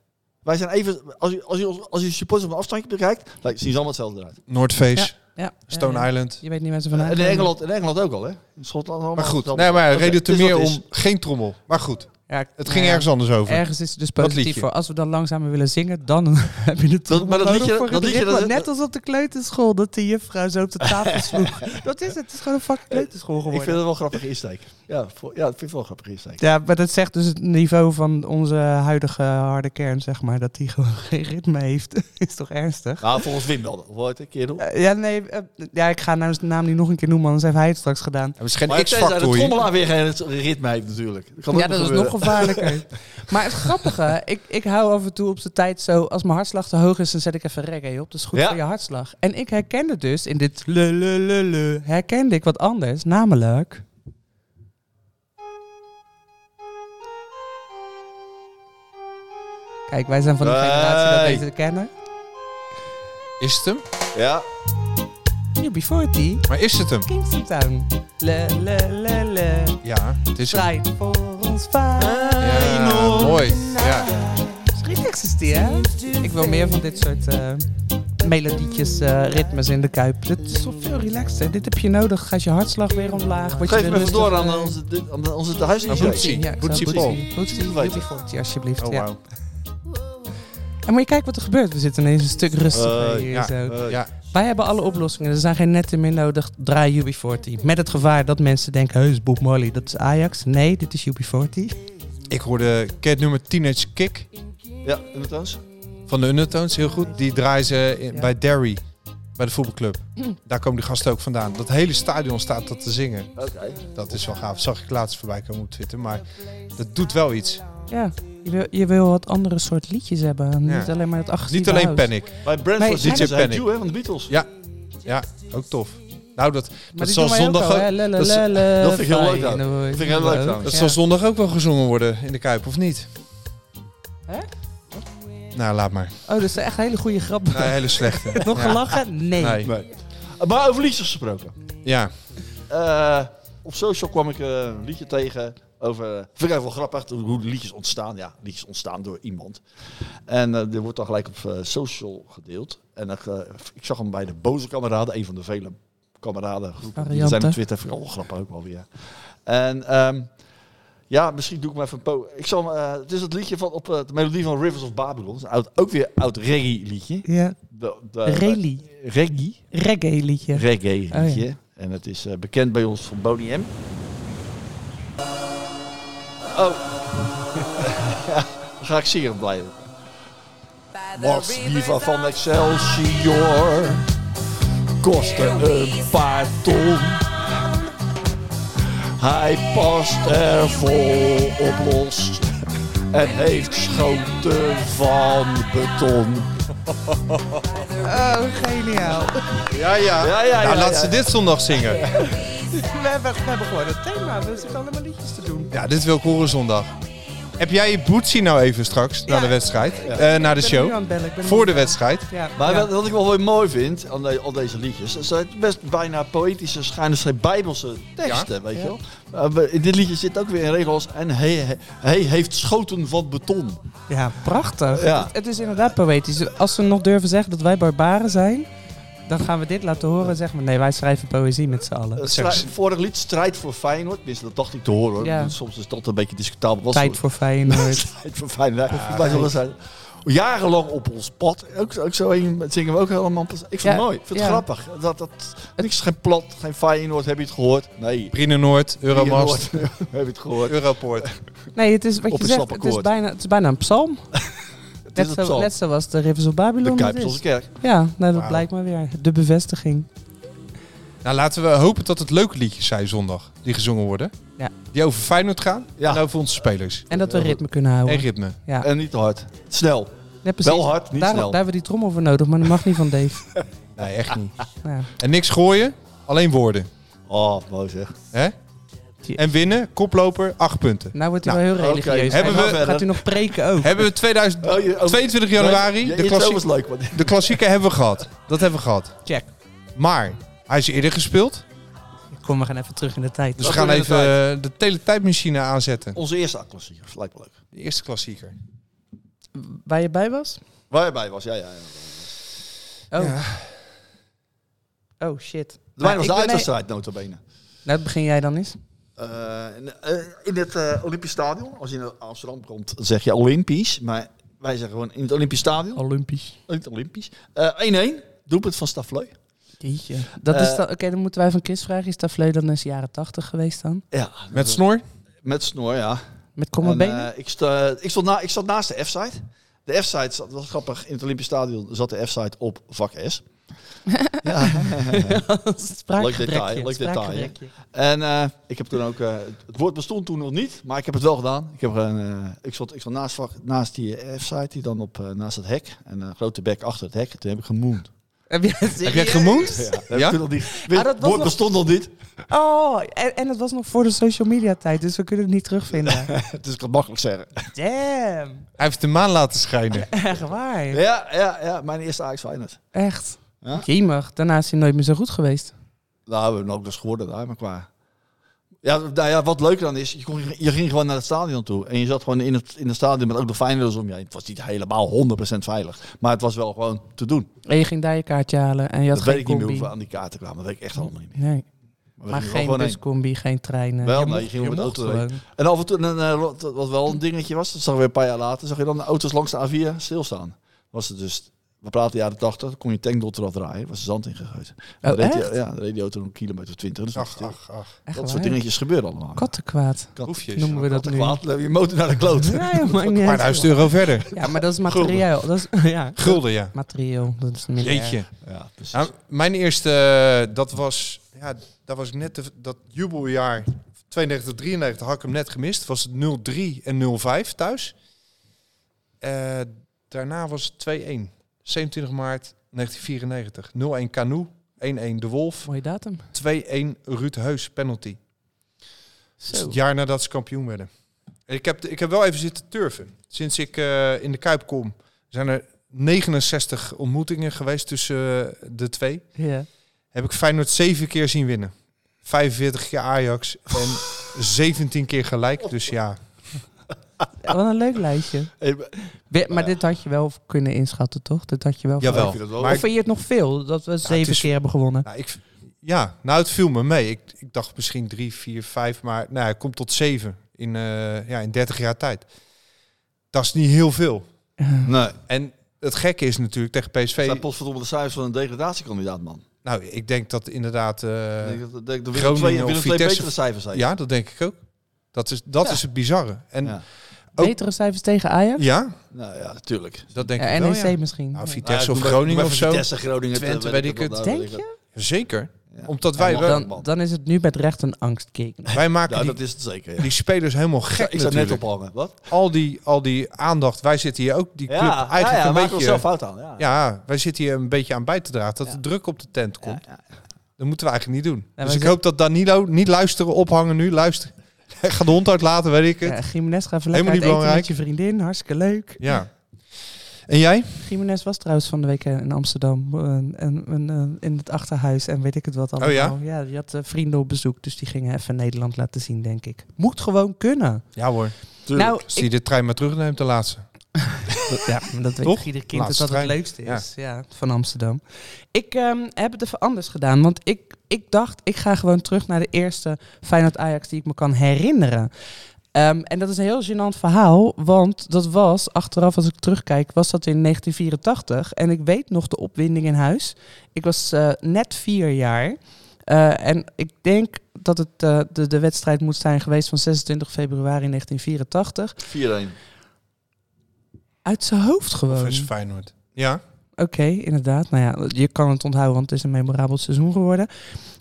Wij zijn even, als je, als je, ons- als je supporters op een afstandje bekijkt, lijkt, zien ze allemaal hetzelfde uit. Noordface, ja, Stone ja, ja. Island. Je weet niet mensen En van in Engeland, in Engeland ook al, hè? In Schotland allemaal. Maar goed, hetzelfde. nee, maar Oké, reden te het is meer wat het is. om geen trommel. Maar goed, Ja, het nou ging ja, ergens anders over. Ergens is het dus Dat positief liedje. voor. Als we dan langzamer willen zingen, dan [LAUGHS] heb je het Dat- maar dat nodig liedje- voor dat het liedje, ritme. dat- Net als op de kleuterschool, dat de juffrouw zo op de [LAUGHS] tafel sloeg. Dat is het. Het is gewoon een fucking kleuterschool Ik geworden. vind het wel een grappige insteek. Ja, voor, ja, dat vind ik wel een grappige insteek. Ja, maar dat zegt dus het niveau van onze huidige harde kern, zeg maar. Dat die gewoon [LAUGHS] geen ritme heeft. [LAUGHS] is toch ernstig? Nou, volgens Wim wel. Hoort een keer op. Eh, ja, nee. eh, ja, ik ga nou eens de naam niet nog een keer noemen, anders heeft hij het straks gedaan. Het is geen Maar tenzij de X-factor hier. trommelaar weer geen ritme heeft natuurlijk. kan ook Ja, dat is nog gebeuren. gevaarlijker. [LAUGHS] maar het grappige, ik, ik hou af en toe op zijn tijd zo... als mijn hartslag te hoog is, dan zet ik even reggae op. Dat is goed Ja. voor je hartslag. En ik herkende dus in dit le, le, le, le... herkende ik wat anders, namelijk... Kijk, wij zijn van de generatie dat Hey. deze kennen. Is het hem? Ja, UB40, Maar is het hem? Kingston Town. Le, le, le, le. Ja, het is hem. Strijd voor ons vader. Ja, mooi. Ja. Relax is die, hè? Ik wil meer van dit soort eh, melodietjes, eh, ritmes in de kuip. Dit is toch veel relaxter. Dit heb je nodig. Gaat je hartslag weer omlaag. Word je geef weer hem even rustiger. door aan onze, aan onze Aan Boetsie. huisdienst. eh, Ja, ik Boetsie zou- Paul. Boetsie, Boetsie, Wil weten. UB40, alsjeblieft. Oh, ja. wauw. En moet je kijken wat er gebeurt. We zitten ineens een stuk rustiger Eh, hier ja. zo. Ja, Wij hebben alle oplossingen. Er zijn geen netten meer nodig. Draai UB40. Met het gevaar dat mensen denken... Heus, Bob Molly, dat is Ajax. Nee, dit is UB40. ik hoorde cat nummer Teenage Kick Ja, inderdaad. van de Undertones, heel goed. Die draaien ze in- Ja. bij Derry, bij de voetbalclub. Daar komen die gasten ook vandaan. Dat hele stadion staat dat te zingen. Oké. Dat is wel gaaf. Zag ik laatst voorbij komen op Twitter, maar dat doet wel iets. Ja, je wil, je wil wat andere soort liedjes hebben. Ja. Niet alleen maar het agressieve Niet alleen house. Panic. Bij Nee, Brentford zit DJ ze bij Panic. Jew, hè, van de Beatles. Ja. Ja, ook tof. Nou, dat, Maar dat die zal doen wij ook zondag al, ook- hè? Lele, dat zal- lele, dat vind ik heel leuk fijn, dan. hoor. vind ik heel leuk dan. Dat Ja. zal zondag ook wel gezongen worden in de Kuip, of niet? Hè? Nou, laat maar. Oh, dat zijn echt hele goede grappen. [LAUGHS] Nou, hele slechte. Nog Ja. gelachen? Nee. Nee. Maar over liedjes gesproken. Ja, Eh, op social kwam ik eh, een liedje tegen over... Vind ik eigenlijk wel grappig hoe hoe liedjes ontstaan. Ja, liedjes ontstaan door iemand. En eh die wordt dan gelijk op eh, social gedeeld. En dan, eh, ik zag hem bij de Boze Kameraden, een van de vele kameradengroepen. Die er zijn Varianten. op Twitter. Vind ik wel grappig ook wel weer. En ehm, ja, misschien doe ik hem even een po... Ik zal, hem, eh, het is het liedje van, op eh, de melodie van Rivers of Babylon. Het is een oud, ook weer oud reggae liedje. Ja. De, de, Rally. reggae Reggae liedje. reggae Oh, liedje. En het is eh, bekend bij ons van Boney M. Oh, [LAUGHS] dan ga ik zeer blijven. Wat liever van Excelsior kostte een paar ton. Hij past er vol op los en heeft schoten van beton. Oh, geniaal. [LAUGHS] ja, ja. Ja, ja, nou, ja, laat ja. ze dit zondag zingen. We hebben, we hebben gewoon het thema. We zitten allemaal liedjes te doen. Ja, dit wil ik horen zondag. Heb jij je bootsie nou even straks, na Ja. de wedstrijd? Ja. Eh, na de Ik ben hem nu aan show? het bellen. Ik ben hem Voor aan de het bellen. wedstrijd? Ja. Maar ja. wat, wat ik wel weer mooi vind aan de- al deze liedjes, is dat het best bijna poëtische, schuine schrijf bijbelse teksten, weet je Ja. wel. Maar we- in dit liedje zit ook weer in regels en hij, hij, hij heeft schoten van beton. Eh, Ja, prachtig. Ja. Het, het is inderdaad poëtisch. Als ze nog durven zeggen dat wij barbaren zijn, dan gaan we dit laten horen en zeggen we... Nee, wij schrijven poëzie met z'n allen. Eh, zeggen strij- ze. vorig lied, strijd voor Feyenoord, tenminste dat dacht ik te horen. hoor. Ja. Soms is dat een beetje discutabel. Was Tijd voor [LAUGHS] Feyenoord. Tijd voor Feyenoord. Ja, wij zullen zijn. eh, Jarenlang op ons pad. Ook, ook zo een, dat zingen we ook helemaal. pas- Ik vind het Ja, mooi, ik vind het ja. grappig. Dat, dat, niks, geen plat, geen Feyenoord, heb je het gehoord? Nee. Brine Noord, Euromast, [LAUGHS] Heb je het gehoord? Europoort. Nee, het is wat Op je een zegt. slappe Het is, koord. bijna, het is bijna een psalm. is net, een zo, psalm. net zoals de Rivers of Babylon. De dat Kuipelse is. Kerk. Ja, nou, dat Wauw. blijkt maar weer. De bevestiging. Nou, laten we hopen dat het leuke liedjes zijn zondag, die gezongen worden. Ja. Die over Feyenoord gaan Ja. en over onze spelers. En dat we Heel goed. ritme kunnen houden. En ritme. Ja, En niet te hard. Snel. net precies. wel hard, niet daar, snel. Daar hebben we die trommel voor nodig, maar dat mag niet van Dave. [LAUGHS] [LAUGHS] Nou, Nee, echt niet. Ja. En niks gooien, alleen woorden. Oh, Ah, mooi zeg. Hè? En winnen, koploper, acht punten. Nou wordt hij Nou, wel heel oké. religieus. Hebben Hij we- gaat- Gaat u nog preken ook? Hebben we 2000 Oh, je- oh, 22 januari, Nee, de, je- klassie was leuk. want- de klassieke hebben we gehad. Dat hebben we gehad. Check. Maar hij is eerder gespeeld. Kom, we gaan even terug in de tijd. Dus we Dat gaan doen we even inderdaad. eh, de teletijdmachine aanzetten. Onze eerste klassieker. Lijkt me leuk. De eerste klassieker. Waar je bij was? Waar je bij was, ja, ja. ja. Oh. Oh, shit. Mijn Nou, was de ik ben- uitwedstrijd, notabene. Nou, dat begin jij dan eens. Eh, in, eh, in het eh, Olympisch Stadion, als je naar Amsterdam komt, dan zeg je Olympisch. Maar wij zeggen gewoon in het Olympisch Stadion. Olympisch. In het Olympisch. Eh 1-1, doelpunt van Stafleu. Jeetje. Dat Eh, is dan- Oké, dan moeten wij van Chris vragen. Is Tafleu dan eens jaren tachtig geweest dan? Ja, Met snor? met snor, ja. Met komme En, benen? eh, ik, sta- ik, stond na, ik zat naast de F-site. De F-site, zat- dat was grappig, in het Olympisch Stadion zat de F-site op vak [LAUGHS] S. ja. Spraakgebrekje, detail, leuk detail, spraakgebrekje. En eh, ik heb toen ook, eh, het woord bestond toen nog niet, maar ik heb het wel gedaan. Ik, heb een, eh, ik stond, ik stond naast, vak- naast die F-site, die dan op, eh, naast het hek. En een grote bek achter het hek. Toen heb ik gemoend. Heb je Heb jij gemoend? Ja, Ja? ja? Toen nog niet, Ah, dat was het woord nog- bestond nog niet. Oh, en, en het was nog voor de social media tijd, dus we kunnen het niet terugvinden. [LAUGHS] Dus ik kan [LAUGHS] het makkelijk zeggen. Damn, Hij heeft de maan laten schijnen. echt waar. Ja, ja, ja, mijn eerste Ajax Feyenoord. Echt. Ja? Jemig, daarna is hij nooit meer zo goed geweest. Nou, we hebben ook dus geworden daar, maar qua... Ja, nou ja, wat leuker dan is, je, kon, je ging gewoon naar het stadion toe. En je zat gewoon in het, in het stadion met ook de Feyenoorders om je heen. Het was niet helemaal 100% veilig, maar het was wel gewoon te doen. En je ging daar je kaartje halen en je had Dat geen weet ik niet meer combi. hoeveel aan die kaarten kwamen. Dat weet ik echt allemaal niet meer. Nee, we maar gingen er geen gewoon heen. buscombi, geen treinen. Wel, Je nee, mocht- je ging je met de mocht auto gewoon. En af en toe, en, eh, wat- wat wel een dingetje was, dat zag je weer een paar jaar later, zag je dan de auto's langs de A4 stilstaan. Was het dus, we praten jaren 80, dan kon je tankdot eraf draaien, was er zand ingegooid. Dan reed die- Oh, echt? ja, dan reed die auto een kilometer of twintig. Dus Ach, dat ach, ach. Echt soort waar? dingetjes gebeuren allemaal. [LAUGHS] Kattenkwaad Kat- Hoefjes. noemen we dat nu. kwaad, dan heb je je motor naar de kloot. Ja, ja, maakt niet Een paar uit. duizend euro verder. ja, maar dat is materieel. Dat is, [LAUGHS] ja, Gulden, ja. materieel. Dat is minder erg. Jeetje. Ja, precies. Nou, mijn eerste, eh, dat was, ja, dat was net de- dat jubeljaar 92, 93 had ik hem net gemist. Was het 0-3 en 0-5 thuis. Eh, daarna was het 2-1. 27 maart 1994. 0-1 Canoe, 1-1 De Wolf, Mooie datum. 2-1 Ruud Heus penalty. Dat is Zo. Dus het jaar nadat ze kampioen werden. En ik, heb, ik heb wel even zitten turven. Sinds ik eh, in de Kuip kom, zijn er 69 ontmoetingen geweest tussen eh, de twee Ja. heb ik Feyenoord zeven keer zien winnen. 45 keer Ajax en 17 keer gelijk. Dus ja, Ah. Wat een leuk lijstje. Hey, maar- We- maar dit had je wel kunnen inschatten, toch? Dit had je wel. jawel. ik vind het wel- Maar Of vind je het nog veel? Dat we zeven is- keer hebben gewonnen. nou, ik, ja, nou, het viel me mee. Ik, ik dacht misschien drie, vier, vijf, maar nou, ja, het komt tot zeven in, eh, ja, in 30 jaar tijd. Dat is niet heel veel. nee, En het gekke is natuurlijk tegen dat PSV. zijn potverdomme de cijfers van een degradatiekandidaat, man. Nou, ik denk dat inderdaad. eh, Ik denk dat- dat- dat de Willem Groningen twee, of Willem twee Vitesse- betere cijfers zijn. ja, dat denk ik ook. Dat is, dat Ja. is het bizarre. En ja, Ja. ook- Betere cijfers tegen Ajax? Nou ja, natuurlijk. dat denk Ja, E ik wel. NEC Ja. misschien. Nou, Ja. Vitesse Ja, of doe maar- Groningen doe of maar zo. Vitesse, Groningen, Twente, eh, weet ik het. wat, nou, Denk weet ik je? Zeker. Ja. Omdat wij, Ja, wel- man. Dan, dan is het nu met recht een angstkeek. wij het. maken Nou, die, dat is het zeker. ja. die spelers helemaal gek. Ik zou net natuurlijk. ophangen. Wat? Al die, al die aandacht. Wij zitten hier ook die club eigenlijk ja, een maken we zelf beetje. fout aan. Ja. Ja, wij zitten hier een beetje aan bij te dragen. Dat de druk op de tent komt. Dat moeten we eigenlijk niet doen. wij dus ik zijn- hoop dat Danilo niet luisteren, ophangen nu. Luister. [LAUGHS] Ga de hond uitlaten, weet ik het. Ja, Ja. Gimenez gaat even Helemaal niet lekker uit eten belangrijk. met je vriendin. Hartstikke leuk. En jij? Gimenez was trouwens van de week eh, in Amsterdam. eh, en- en- en, eh, in het achterhuis en weet ik het wat allemaal. Oh, ja? ja die had eh, vrienden op bezoek. Dus die gingen even Nederland laten zien, denk ik. Moet gewoon kunnen. Ja hoor. Nou, Als ik- hij de trein maar terugneemt, de laatste. Ja, maar dat weet Toch? toch? ieder kind Laatste dat dat trein. het leukste is. Ja. van Amsterdam. Ik ehm, heb het even anders gedaan. Want ik, ik dacht, ik ga gewoon terug naar de eerste Feyenoord-Ajax die ik me kan herinneren. Ehm, en dat is een heel gênant verhaal. Want dat was, achteraf als ik terugkijk, was dat in 1984. En ik weet nog de opwinding in huis. Ik was eh, net vier jaar. Eh, en ik denk dat het eh, de, de wedstrijd moet zijn geweest van 26 februari 1984. 4-1. Uit zijn hoofd gewoon. Ehm. Of is Feyenoord. Ja. oké, inderdaad. Nou ja, je kan het onthouden, want het is een memorabel seizoen geworden.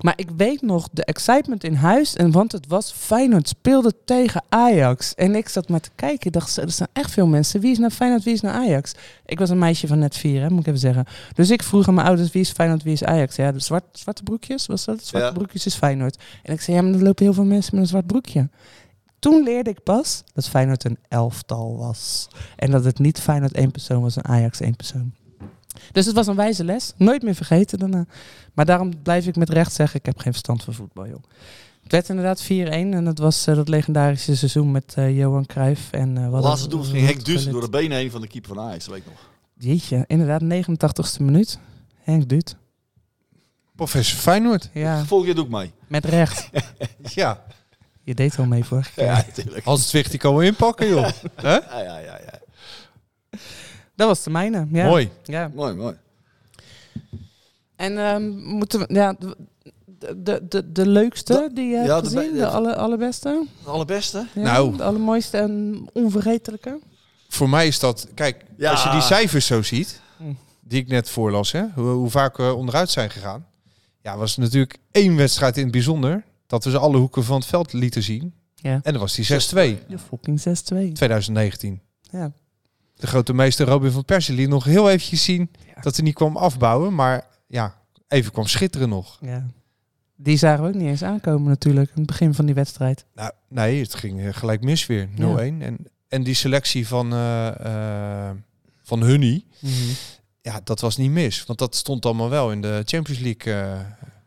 Maar ik weet nog de excitement in huis. En want het was Feyenoord speelde tegen Ajax. En ik zat maar te kijken. Ik dacht, zo, er zijn echt veel mensen. Wie is nou Feyenoord, wie is nou Ajax? Ik was een meisje van net vier, hè, moet ik even zeggen. Dus ik vroeg aan mijn ouders, wie is Feyenoord, wie is Ajax? Ja, de zwart, zwarte broekjes, was dat? Zwarte Ja. broekjes is Feyenoord. En ik zei, ja, maar er lopen heel veel mensen met een zwart broekje. Toen leerde ik pas dat Feyenoord een elftal was. En dat het niet Feyenoord één persoon was en Ajax één persoon. Dus het was een wijze les. Nooit meer vergeten daarna. Maar daarom blijf ik met recht zeggen, ik heb geen verstand van voetbal, joh. Het werd inderdaad 4-1 en dat was eh, dat legendarische seizoen met eh, Johan Cruijff. En, eh, wat laatste een- doel wat ging een Henk Dussen door gelid. de benen heen van de keeper van Ajax, dat weet ik nog. Jeetje, inderdaad, 89ste minuut. Henk Duut. Professor [LAUGHS] Feyenoord. Ja, Volgende keer doe ik mee. met recht. Ja, Je deed al mee vorige keer. Ja, natuurlijk. Hans Twicht die komen inpakken, [LAUGHS] joh. Hè? Ja, ja, ja, ja. Dat was de mijne. Ja. Mooi. Ja. Mooi, mooi. En ehm, moeten we... Ja, de, de, de, de leukste Dat- die je hebt ja, de gezien? be- De, alle, allerbeste? De allerbeste. Ja, Nou. De allermooiste en onvergetelijke? Voor mij is dat... Kijk, Ja. als je die cijfers zo ziet, Hm. die ik net voorlas, hè, hoe, hoe vaak we onderuit zijn gegaan. Ja, was natuurlijk één wedstrijd in het bijzonder. Dat we ze alle hoeken van het veld lieten zien. Ja. En dat was die 6-2, De fucking 6-2. 2019. Ja. De grote meester Robin van Persie liet nog heel eventjes zien Ja. dat hij niet kwam afbouwen. Maar ja, even kwam schitteren nog. ja. Die zagen we ook niet eens aankomen natuurlijk. Aan het begin van die wedstrijd. Nou, nee, het ging eh, gelijk mis weer. 0-1. En, en die selectie van, eh eh van Hunny, ja, dat was niet mis. Want dat stond allemaal wel in de Champions League eh,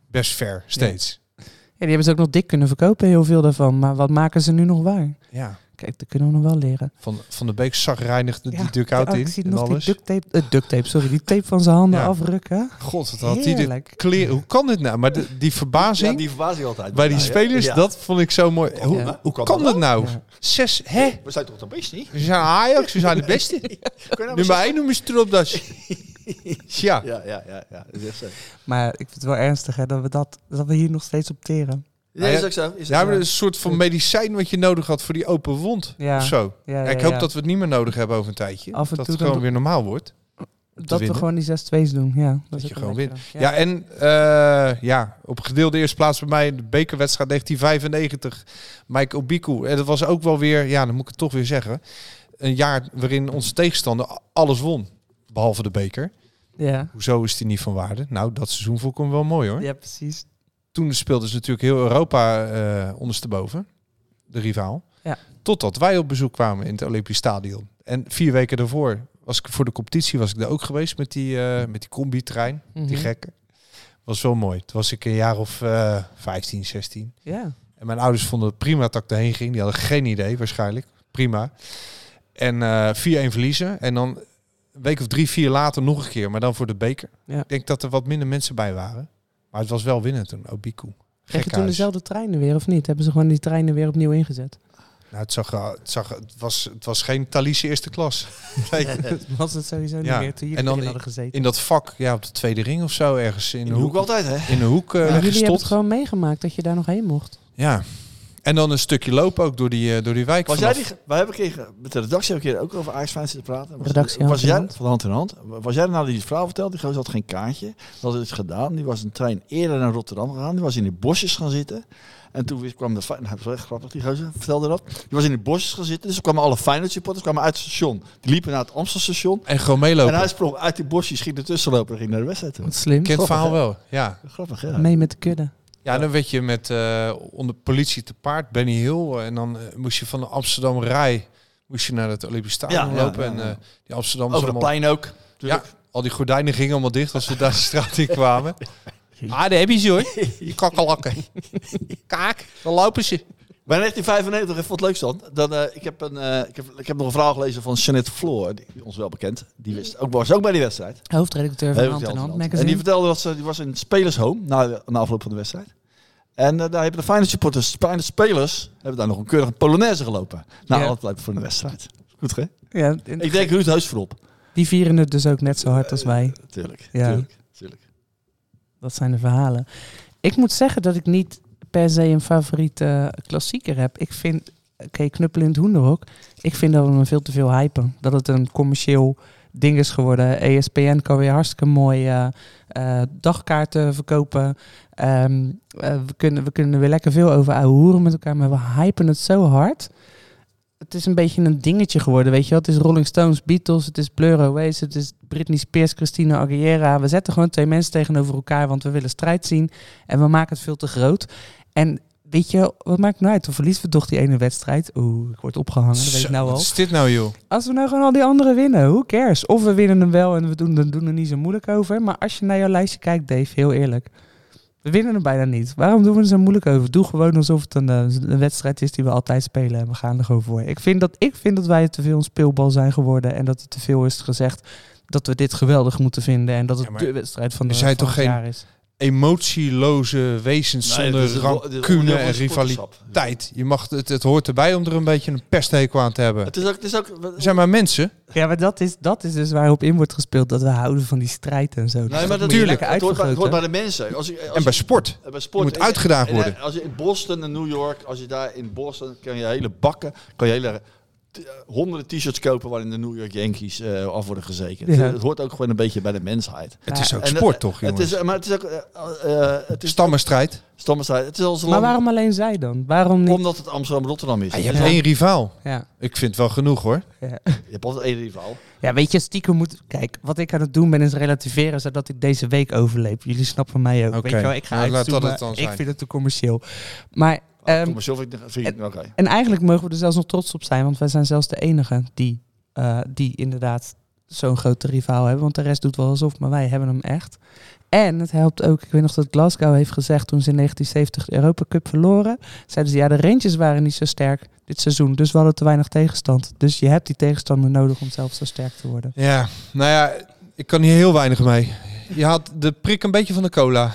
best ver steeds. Ja, die hebben ze ook nog dik kunnen verkopen, heel veel daarvan. Maar wat maken ze nu nog waar? Ja. Kijk, dat kunnen we nog wel leren. Van, van de Beek zag reinigde Ja, die dugout oh, in Ik zie en nog alles. die duct tape, eh, duct tape, sorry, die tape van zijn handen Ja. afrukken. God, wat had hij de Heerlijk. kleren. Hoe kan dit nou? Maar de- die verbazing Ja, die verbazing altijd. bij die Ja, ja. spelers, Ja. dat vond ik zo mooi. Hoe, Ja. hoe kan dat nou? Ja. Zes, hè? We zijn toch de beste, niet? We zijn Ajax, we zijn de beste. Kunnen we Nummer één noemen ze erop, dat is... Ja. Ja, ja, ja. ja. Dat is echt zo. Maar ik vind het wel ernstig hè, dat, we dat, dat we hier nog steeds op teren. Ja, is ook zo. Is Ja, ook maar zo. een soort van medicijn wat je nodig had voor die open wond Ja. of zo. Ja, Ja, ja, ik hoop ja. dat we het niet meer nodig hebben over een tijdje. Af en dat toe het gewoon dan- weer normaal wordt. Dat we winnen. gewoon die 6-2's doen. Ja, dat Dat is je ook gewoon wel wint. lekker. Ja, en eh, ja, op gedeelde eerste plaats bij mij de bekerwedstrijd 1995. Mike Obiku. En dat was ook wel weer, ja, dan moet ik het toch weer zeggen. Een jaar waarin onze tegenstander a- alles won. Behalve de beker. Ja. Hoezo is die niet van waarde? Nou, dat seizoen vond ik hem wel mooi hoor. ja, precies. toen speelden ze natuurlijk heel Europa eh, ondersteboven, de rivaal. Ja. Totdat wij op bezoek kwamen in het Olympisch Stadion. En vier weken daarvoor was ik voor de competitie was ik daar ook geweest met die, eh, met die combi-trein, die Mhm. gekke. Was wel mooi. Toen was ik een jaar of eh 15, 16. Ja. En mijn ouders vonden het prima dat ik daarheen ging. Die hadden geen idee waarschijnlijk. Prima. En eh 4-1 verliezen. En dan een week of drie, vier later nog een keer. Maar dan voor de beker. Ja. Ik denk dat er wat minder mensen bij waren. Maar het was wel winnen toen. Obiku. Kreeg je toen Gekhuis. dezelfde treinen weer of niet? Hebben ze gewoon die treinen weer opnieuw [LAUGHS] ingezet? Nou, het, zag, er- het, zag, er- het, was, het was geen Thalys eerste klas. Nee. Was het sowieso niet Ja. meer toen jullie En dan erin hadden gezeten? In dat vak, ja, op de tweede ring of zo. Ergens in, In de de hoek hoek, altijd, hè? in de hoek eh, Maar jullie hebben het gestopt. gewoon meegemaakt dat je daar nog heen mocht. Ja. En dan een stukje lopen ook door die, eh, door die wijk. Was jij vanaf- die, ge- wij hebben een keer, ge- met de redactie hebben we een keer ook over Ajax Fijn zitten praten. Was, Redactie hand was in jij, hand. Van hand in hand. Was jij er nou die het verhaal vertelde? Die gozer had geen kaartje. Dat had iets gedaan. Die was een trein eerder naar Rotterdam gegaan. Die was in de bosjes gaan zitten. En toen weer kwam de Feyenoord... Nou, dat was echt grappig, die gozer vertelde dat. Die was in de bosjes gaan zitten. Dus er kwamen alle Feyenoord supporters kwamen uit het station. Die liepen naar het Amsterdam station. En gewoon En hij meelopen. sprong uit die bosjes, ging ertussen lopen en ging naar de wedstrijd toe. Wat slim. Kent het Grappig, verhaal hè? wel. Ja. Grappig, ja. Mee met de kudde. Ja, dan werd je met eh, onder politie te paard, Benny Hill. En dan eh, moest je van de Amsterdam Rij moest je naar het Olympisch Stadion Ja, ja, lopen. ja, ja. En eh, die Amsterdam Over de plein ook. Ja, Tuurlijk. al die gordijnen gingen allemaal dicht als we [LAUGHS] daar de straat in kwamen. Ah, daar heb je ze hoor. Die kakkelakken. Kaak, dan lopen ze. Bij 1995, even wat leuks dan. dan eh, ik, heb een, eh, ik, heb, ik heb nog een verhaal gelezen van Jeanette Floor, die ons wel bekend. Die wist ook, was ook bij die wedstrijd. Hoofdredacteur van Heel Hand in verteld van Hand Ant. en die magazine. vertelde dat ze, die was in het spelershome na, de- na afloop van de wedstrijd. En eh, daar hebben de Feyenoord supporters, de Feyenoord spelers, hebben daar nog een keurige Polonaise gelopen. Na Ja. alle tijd van de wedstrijd. Goed, hè? Ja, Ik denk Ruud Heus voorop. die vieren het dus ook net zo hard Eh, als wij. Tuurlijk, Ja. tuurlijk, tuurlijk. Dat zijn de verhalen. Ik moet zeggen dat ik niet per se een favoriete eh, klassieker heb. Ik vind, oké, Knuppel in het Hoenderhok. Ik vind dat we hem veel te veel hypen. Dat het een commercieel ding is geworden. E ESPN kan weer hartstikke mooi eh, eh, dagkaarten verkopen. Ehm, eh, we, kunnen, we kunnen er weer lekker veel over ouwe hoeren met elkaar, maar we hypen het zo hard. Het is een beetje een dingetje geworden, weet je wel. Het is Rolling Stones, Beatles, het is Blur Oasis, het is Britney Spears, Christina Aguilera. We zetten gewoon twee mensen tegenover elkaar, want we willen strijd zien. En we maken het veel te groot. En weet je, wat maakt het nou uit? Of verliezen we toch die ene wedstrijd? Oeh, ik word opgehangen, dat weet ik Zo, nou al. Wat is dit nou, joh? Als we nou gewoon al die anderen winnen, who cares? Of we winnen hem wel en we doen, dan doen er niet zo moeilijk over. Maar als je naar jouw lijstje kijkt, Dave, heel eerlijk. We winnen hem bijna niet. Waarom doen we er zo moeilijk over? Doe gewoon alsof het een, eh, een wedstrijd is die we altijd spelen en we gaan er gewoon voor. Ik vind dat, ik vind dat wij te veel een speelbal zijn geworden en dat het te veel is gezegd dat we dit geweldig moeten vinden en dat het Ja, maar de wedstrijd van, de, er zijn van toch het geen- jaar is. Emotieloze wezens zonder rancune en rivaliteit. Je mag, het, het hoort erbij om er een beetje een pesthekel aan te hebben. Het is ook... Het is ook Er zijn maar mensen. Ja, maar dat is, dat is dus waarop in wordt gespeeld, dat we houden van die strijd en zo. Dus Nee, maar dat, moet je Tuurlijk. lekker het hoort, bij, het hoort uitvergroten. bij de mensen. Als je, als En bij je- sport. eh, bij Je sport moet en- uitgedaagd en, eh, worden. als je in Boston en New York, als je daar in Boston, kan je hele bakken, kan je hele t- eh, honderden t-shirts kopen waarin de New York Yankees eh, af worden gezekend. Ja. Het hoort ook gewoon een beetje bij de mensheid. Het is ook En, eh, sport, toch, Het jongens? is, eh, maar het is ook... eh, eh, het is Stammenstrijd. stammenstrijd. Het is als Maar lang, waarom alleen zij dan? Waarom niet? Omdat het Amsterdam-Rotterdam is. Ja, Ah, je Het hebt is al- één rivaal. Ja. Ik vind het wel genoeg, hoor. ja. je hebt altijd één rivaal. Ja, weet je, stiekem moet... Kijk, wat ik aan het doen ben is relativeren... zodat ik deze week overleef. Jullie snappen mij ook. Oké. Weet je wel, ik ga Nou, laat uitzoomen. dat het dan zijn. Oh, Ik vind het te commercieel. Maar... Ah, ehm, Kom maar, Sjoerd, ik vind ik... Oké. en eigenlijk mogen we er zelfs nog trots op zijn... want wij zijn zelfs de enige die, eh, die inderdaad zo'n grote rivaal hebben. Want de rest doet wel alsof, maar wij hebben hem echt. En het helpt ook, ik weet nog dat Glasgow heeft gezegd... toen ze in 1970 de Europa Cup verloren... zeiden ze, ja, de Rangers waren niet zo sterk dit seizoen... dus we hadden te weinig tegenstand. Dus je hebt die tegenstander nodig om zelf zo sterk te worden. Ja, nou ja, ik kan hier heel weinig mee. Je had de prik een beetje van de cola.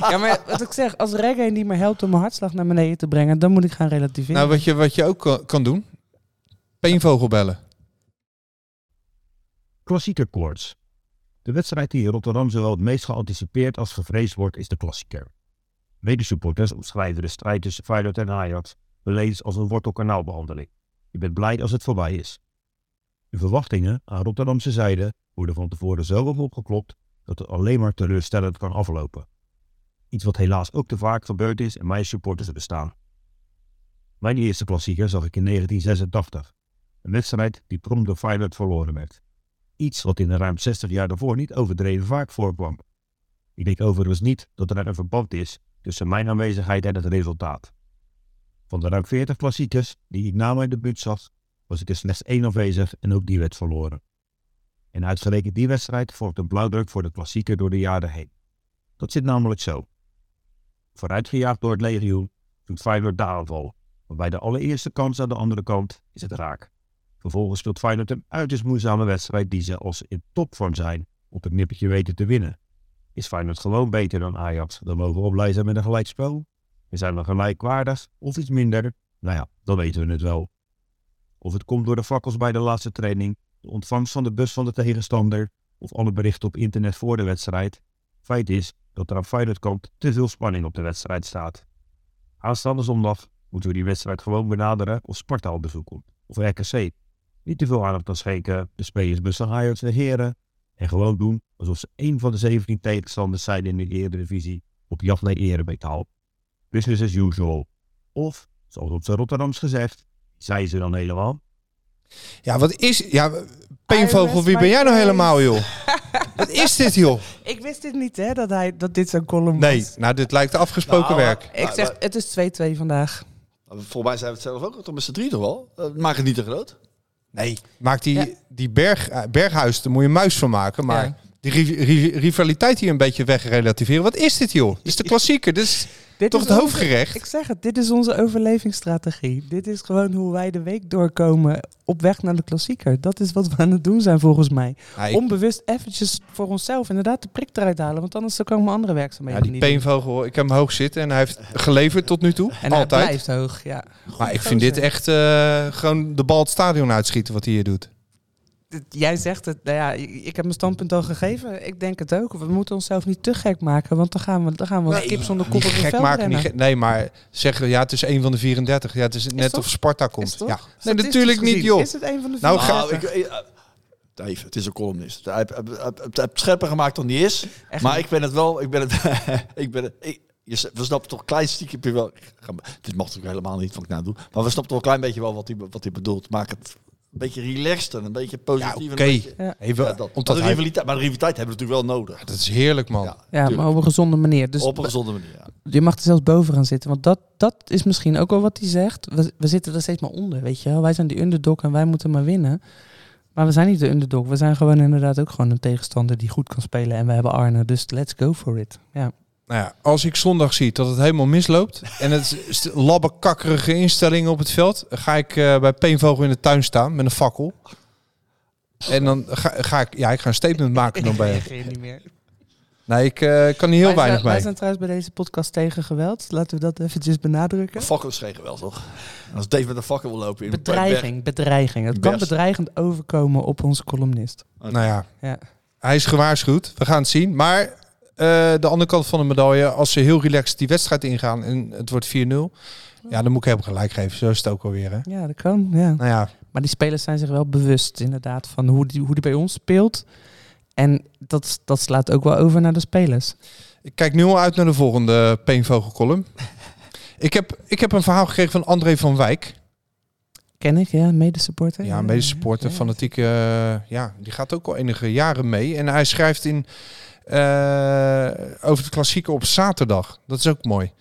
Ja, maar wat ik zeg, als reggae niet meer helpt om mijn hartslag naar beneden te brengen, dan moet ik gaan relativeren. Nou, wat je, wat je ook kan- kan doen, peenvogel bellen. Klassieker koorts. De wedstrijd die in Rotterdam zowel het meest geanticipeerd als gevreesd wordt, is de klassieker. Medesupporters omschrijven de strijd tussen Feyenoord en Ajax beleefd als een wortelkanaalbehandeling. Je bent blij als het voorbij is. De verwachtingen aan Rotterdamse zijde worden van tevoren zo hoog opgeklopt dat het alleen maar teleurstellend kan aflopen. Iets wat helaas ook te vaak gebeurd is en mijn supporters bestaan. Mijn eerste klassieker zag ik in 1986. Een wedstrijd die prompt door Feyenoord verloren werd. Iets wat in de ruim 60 jaar daarvoor niet overdreven vaak voorkwam. Ik denk overigens niet dat er een verband is tussen mijn aanwezigheid en het resultaat. Van de ruim 40 klassiekers die ik na mijn debuut zag, was ik er slechts één afwezig en ook die werd verloren. En uitgerekend die wedstrijd vormt een blauwdruk voor de klassieker door de jaren heen. Dat zit namelijk zo. Vooruitgejaagd door het legioen doet Feyenoord de aanval, maar bij de allereerste kans aan de andere kant is het raak. Vervolgens speelt Feyenoord een uiterst moeizame wedstrijd die ze als in topvorm zijn op het nippertje weten te winnen. Is Feyenoord gewoon beter dan Ajax? Dan mogen we op blij zijn met een gelijkspel. We zijn dan gelijkwaardig of iets minder. Nou ja, dan weten we het wel. Of het komt door de fakkels bij de laatste training, de ontvangst van de bus van de tegenstander of alle berichten op internet voor de wedstrijd. Feit is dat er aan Feyenoord kant te veel spanning op de wedstrijd staat. Aanstaande zondag moeten we die wedstrijd gewoon benaderen of Sparta op bezoek komt. Of RKC, niet te veel aandacht aan schenken, de spelers bussen Ajax negeren en gewoon doen alsof ze één van de 17 tegenstanders zijn in de Eredivisie op jacht naar erebetaal. Business as usual. Of, zoals op zijn Rotterdams gezegd, zijn ze dan helemaal? Ja, wat is... Ja, peenvogel, rest wie my ben jij nou case. helemaal, joh? Wat is dit, joh? Ik wist dit niet, hè, dat, hij, dat dit zo'n column Nee, was. nou, dit lijkt afgesproken Nou, werk. Ik zeg, het is 2-2 vandaag. Volgens mij zijn we het zelf ook, toch met z'n drie toch wel? Eh, maak het niet te groot. Nee, maak die, Ja. die berg, eh, berghuis, daar moet je een muis van maken, maar... Ja. Die ri- ri- rivaliteit hier een beetje wegrelativeren. Wat is dit, joh? Dit is de klassieker. Dit is Dit toch is het onze- hoofdgerecht? Ik zeg het, dit is onze overlevingsstrategie. Dit is gewoon hoe wij de week doorkomen op weg naar de klassieker. Dat is wat we aan het doen zijn volgens mij. Ja, ik- Onbewust eventjes voor onszelf inderdaad de prik eruit halen, want anders komen we andere ja, werkzaamheden die niet doen. peenvogel, ik heb hem hoog zitten en hij heeft geleverd tot nu toe. En Altijd. hij blijft hoog, ja. Maar ik vind dit gozer. echt eh, gewoon de bal het stadion uitschieten wat hij hier doet. Jij zegt het, nou ja, ik ik heb mijn standpunt al gegeven. Ik denk het ook. We moeten onszelf niet te gek maken, want dan gaan we, dan gaan we als Nee, kip zonder kop Niet op het gek veld maken. rennen. Niet gek- nee, maar zeggen ja, het is een van de 34. Ja, het is net toch- of Sparta Is komt. toch? Ja. Nee, Statistisch natuurlijk niet, gezien joh. Is het een van de Nou, vier? ga- Nou, Ah, ik, eh, Dave, het is een columnist. Hij heeft- hij heeft- hij heeft scherper gemaakt dan die is. Echt maar niet. ik ben het wel. Ik ben het. [LAUGHS] ik ben het. Ik, je s- we snappen toch een klein stiekje wel. ga- Dit mag natuurlijk helemaal niet wat ik nou doe. Maar we snappen toch een klein beetje wel wat hij, be- wat hij bedoelt. Maak het een beetje relaxed en een beetje Ja, oké. positief. en een beetje- Ja. Even, Ja, dat, omdat maar, de hij- rivaliteit, maar de rivaliteit hebben we natuurlijk wel nodig. Dat is heerlijk, man. Ja, Ja, maar tuurlijk. op een gezonde manier. Dus op een gezonde manier. Ja. je mag er zelfs boven gaan zitten. Want dat, dat is misschien ook wel wat hij zegt. We, we zitten er steeds maar onder, weet je wel. Wij zijn de underdog en wij moeten maar winnen. Maar we zijn niet de underdog. We zijn gewoon inderdaad ook gewoon een tegenstander die goed kan spelen. En we hebben Arne, dus let's go for it. Ja. Nou ja, als ik zondag zie dat het helemaal misloopt en het is st- labbekakkerige instellingen op het veld, ga ik eh, bij Peenvogel in de tuin staan met een fakkel. En dan ga, ga ik, ja, ik ga een statement maken dan bij hem. niet meer. Nee, ik eh, kan hier heel wij, weinig zijn, wij mee. zijn trouwens bij deze podcast tegen geweld. Laten we dat eventjes benadrukken. Fakkel is geen geweld, toch? En Als Dave met een fakkel wil lopen in een Bedreiging, bedreiging. Het kan Best. bedreigend overkomen op onze columnist. Nou ja, Ja. hij is gewaarschuwd. We gaan het zien. Maar eh, de andere kant van de medaille, als ze heel relaxed die wedstrijd ingaan en het wordt 4-0, ja, dan moet ik hem gelijk geven. Zo is het ook alweer, hè? Ja, dat kan. Ja. Nou ja, Maar die spelers zijn zich wel bewust inderdaad van hoe die, hoe die bij ons speelt. En dat, dat slaat ook wel over naar de spelers. Ik kijk nu al uit naar de volgende peenvogelcolumn. ik, heb, ik heb een verhaal gekregen van André van Wijk. Ken ik, ja, medesupporter. Ja, mede supporter, ja. fanatiek. eh, ja, die gaat ook al enige jaren mee. En hij schrijft in eh, over de klassieken op zaterdag. Dat is ook mooi.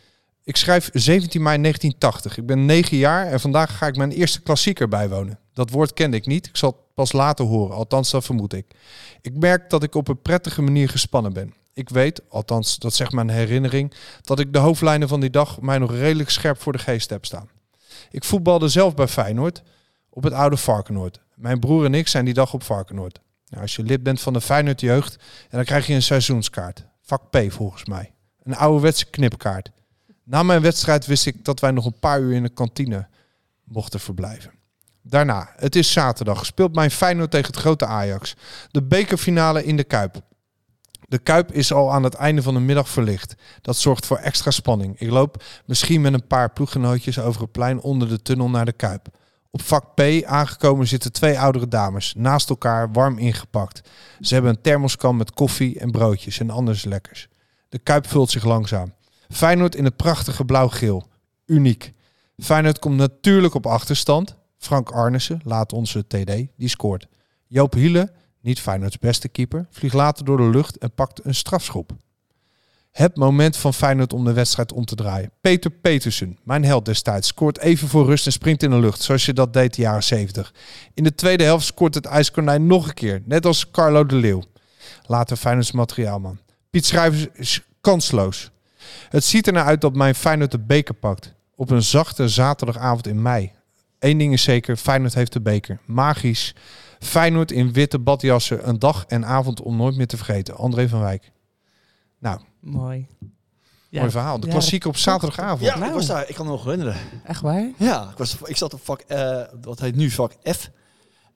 Ik schrijf 17 mei 1980. Ik ben 9 jaar en vandaag ga ik mijn eerste klassieker bijwonen. Dat woord kende ik niet. Ik zal het pas later horen, althans dat vermoed ik. Ik merk dat ik op een prettige manier gespannen ben. Ik weet, althans dat zegt mijn herinnering, dat ik de hoofdlijnen van die dag mij nog redelijk scherp voor de geest heb staan. Ik voetbalde zelf bij Feyenoord op het oude Varkenoord. Mijn broer en ik zijn die dag op Varkenoord. Nou, als je lid bent van de Feyenoord jeugd, en dan krijg je een seizoenskaart. Vak P volgens mij. Een ouderwetse knipkaart. Na mijn wedstrijd wist ik dat wij nog een paar uur in de kantine mochten verblijven. Daarna, het is zaterdag, speelt mijn Feyenoord tegen het grote Ajax. De bekerfinale in de Kuip. De Kuip is al aan het einde van de middag verlicht. Dat zorgt voor extra spanning. Ik loop misschien met een paar ploeggenootjes over het plein onder de tunnel naar de Kuip. Op vak P aangekomen zitten twee oudere dames, naast elkaar warm ingepakt. Ze hebben een thermoskan met koffie en broodjes en anders lekkers. De kuip vult zich langzaam. Feyenoord in het prachtige blauw-geel. Uniek. Feyenoord komt natuurlijk op achterstand. Frank Arnissen, laat onze TD, die scoort. Joop Hiele, niet Feyenoords beste keeper, vliegt later door de lucht en pakt een strafschop. Het moment van Feyenoord om de wedstrijd om te draaien. Peter Petersen, mijn held destijds, scoort even voor rust en springt in de lucht, zoals je dat deed de jaren 70. In de tweede helft scoort het IJskonijn nog een keer, net als Carlo de Leeuw. Later Feyenoords materiaalman. Piet Schrijvers is kansloos. Het ziet ernaar uit dat mijn Feyenoord de beker pakt. Op een zachte zaterdagavond in mei. Eén ding is zeker, Feyenoord heeft de beker. Magisch. Feyenoord in witte badjassen. Een dag en avond om nooit meer te vergeten. André van Wijk. Mooi. Ja. Mooi verhaal. De Ja, klassiek op zaterdagavond. Ja, Nou. ik was daar. Ik kan me nog herinneren. Echt waar? Ja, ik, was, ik zat op vak, eh dat heet nu vak F.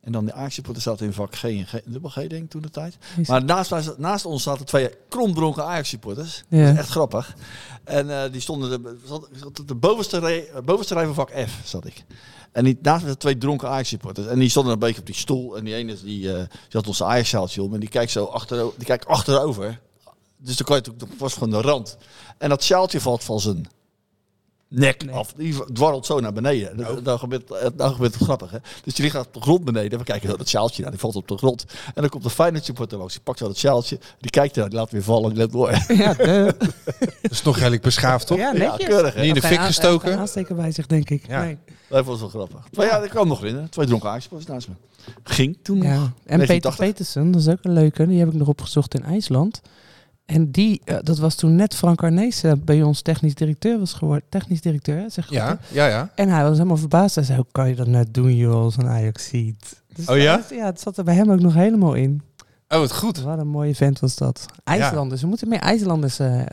En dan de Ajax-supporter zat in vak G en G, dubbel G denk ik toen de tijd. Jezus. Maar naast, mij zat- naast ons zaten twee kromdronken Ajax-supporters. Ja. Dat is echt grappig. En eh, die stonden, de, zat, zat op de bovenste, rij, eh, bovenste rij van vak F zat ik. En die, naast me zaten twee dronken Ajax-supporters. En die stonden een beetje op die stoel. En die ene is die, eh, die had onze Ajax-sjaaltje om. En die kijkt zo achtero- die kijkt achterover. Dus dan kan je, natuurlijk- dat was gewoon de rand. En dat sjaaltje valt van zijn nek af. Die dwarrelt zo naar beneden. En dat- Nou gebeurt, eh, nou gebeurt het grappig, hè? Dus die ligt op de grond beneden. En we kijken naar dat sjaaltje. Nou, die valt op de grond. En dan komt de Feyenoord supporter langs. Die pakt zo dat sjaaltje. Die kijkt ernaar. Die laat weer vallen. Die loopt door. [LAUGHS] Ja, de, Dat is nog redelijk beschaafd, toch? ja netjes. keurig, hè? Niet in de Geen fik aan- geen gestoken. aansteken bij zich, denk ik. Ja. Nee. Dat was wel grappig. Maar ja, dat kan me nog herinneren. Twee dronken aarsjes naast me. Ging toen nog. Ja. En Peter 1980. Petersen, dat is ook een leuke. Die heb ik nog opgezocht in IJsland. En die, eh, dat was toen net Frank Arnezen bij ons technisch directeur was geworden. Technisch directeur, hè, zeg ik goed, hè? Ja, ja, ja. En hij was helemaal verbaasd. Hij zei, hoe kan je dat nou doen, joh, als een Ajax ziet? Dus Oh ja? hij- Ja, het zat er bij hem ook nog helemaal in. Oh, wat goed. Wat een mooie vent was dat. IJslanders, we moeten meer IJslanders eh,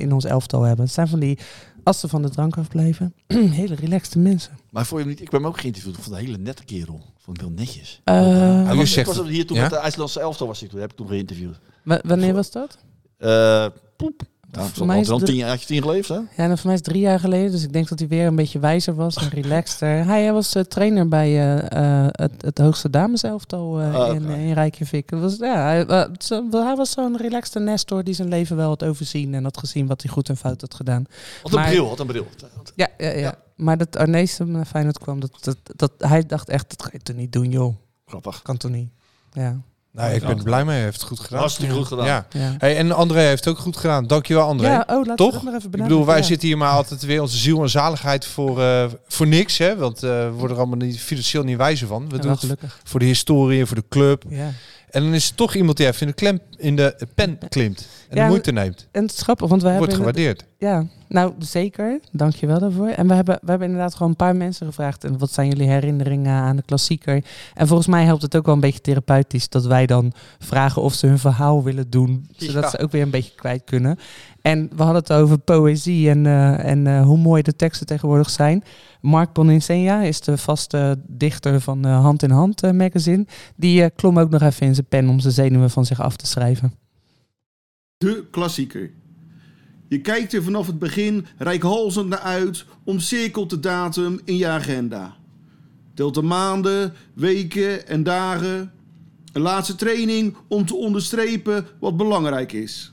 in ons elftal hebben. Het zijn van die, als ze van de drank afblijven, [CLEARS THROAT] hele relaxte mensen. Maar voor je hem niet. Ik ben hem ook geïnterviewd. Ik vond een hele nette kerel. Ik vond hem heel netjes. Eh, Hij u was, ik zegt was het. hier toen Ja? met de IJslandse elftal was ik toen. Heb ik toen geïnterviewd. wa- wanneer was dat? Eh, poep. Ja, voor mij had is hij dan de- tien jaar, had je tien geleefd, hè? Ja, en voor mij is het drie jaar geleden, dus ik denk dat hij weer een beetje wijzer was en relaxter. Hij, hij was eh, trainer bij eh, eh, het, het hoogste dameselftal eh Ah, in, oké. in Reykjavik. Het Was, ja, hij, eh, zo- hij was zo'n relaxte Nestor die zijn leven wel had overzien en had gezien wat hij goed en fout had gedaan. Wat een Maar- bril, wat een bril. Ja, ja, ja. maar dat Arnees naar Feyenoord kwam, dat, dat, dat, hij dacht echt, dat ga je toch niet doen joh, Grappig. kan toch niet. Ja, Nou, ik ben er blij mee. Hij heeft het goed gedaan. Hartstikke goed gedaan. Ja. ja. Hey, en André heeft het ook goed gedaan. Dankjewel, André. ja oh, laten toch? we dat nog even benadrukken. ik bedoel, wij ja. zitten hier maar altijd weer onze ziel en zaligheid voor, eh, voor niks. Hè? Want eh, we worden er allemaal niet, financieel niet wijzer van. We Ja, doen wel het gelukkig. voor de historie, en voor de club. Ja. En dan is er toch iemand die even in de, klem, in de pen klimt. En Ja, de moeite neemt. En het is grappig, want wij Wordt hebben gewaardeerd. Ja, nou zeker. Dank je wel daarvoor. En we hebben, we hebben inderdaad gewoon een paar mensen gevraagd. En wat zijn jullie herinneringen aan de klassieker? En volgens mij helpt het ook wel een beetje therapeutisch dat wij dan vragen of ze hun verhaal willen doen. Zodat Ja. ze ook weer een beetje kwijt kunnen. En we hadden het over poëzie en, eh, en eh, hoe mooi de teksten tegenwoordig zijn. Mark Boninsenia is de vaste dichter van eh, Hand in Hand eh, magazine. Die eh, klom ook nog even in zijn pen om zijn zenuwen van zich af te schrijven. de klassieker. Je kijkt er vanaf het begin reikhalzend naar uit, omcirkelt de datum in je agenda. Telt de maanden, weken en dagen. Een laatste training om te onderstrepen wat belangrijk is.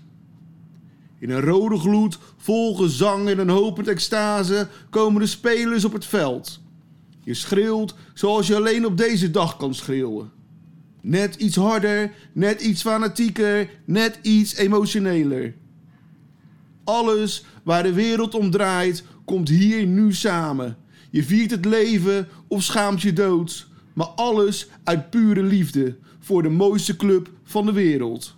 In een rode gloed, vol gezang en een hopend extase komen de spelers op het veld. Je schreeuwt zoals je alleen op deze dag kan schreeuwen. Net iets harder, net iets fanatieker, net iets emotioneler. Alles waar de wereld om draait, komt hier nu samen. Je viert het leven of schaamt je dood, maar alles uit pure liefde voor de mooiste club van de wereld.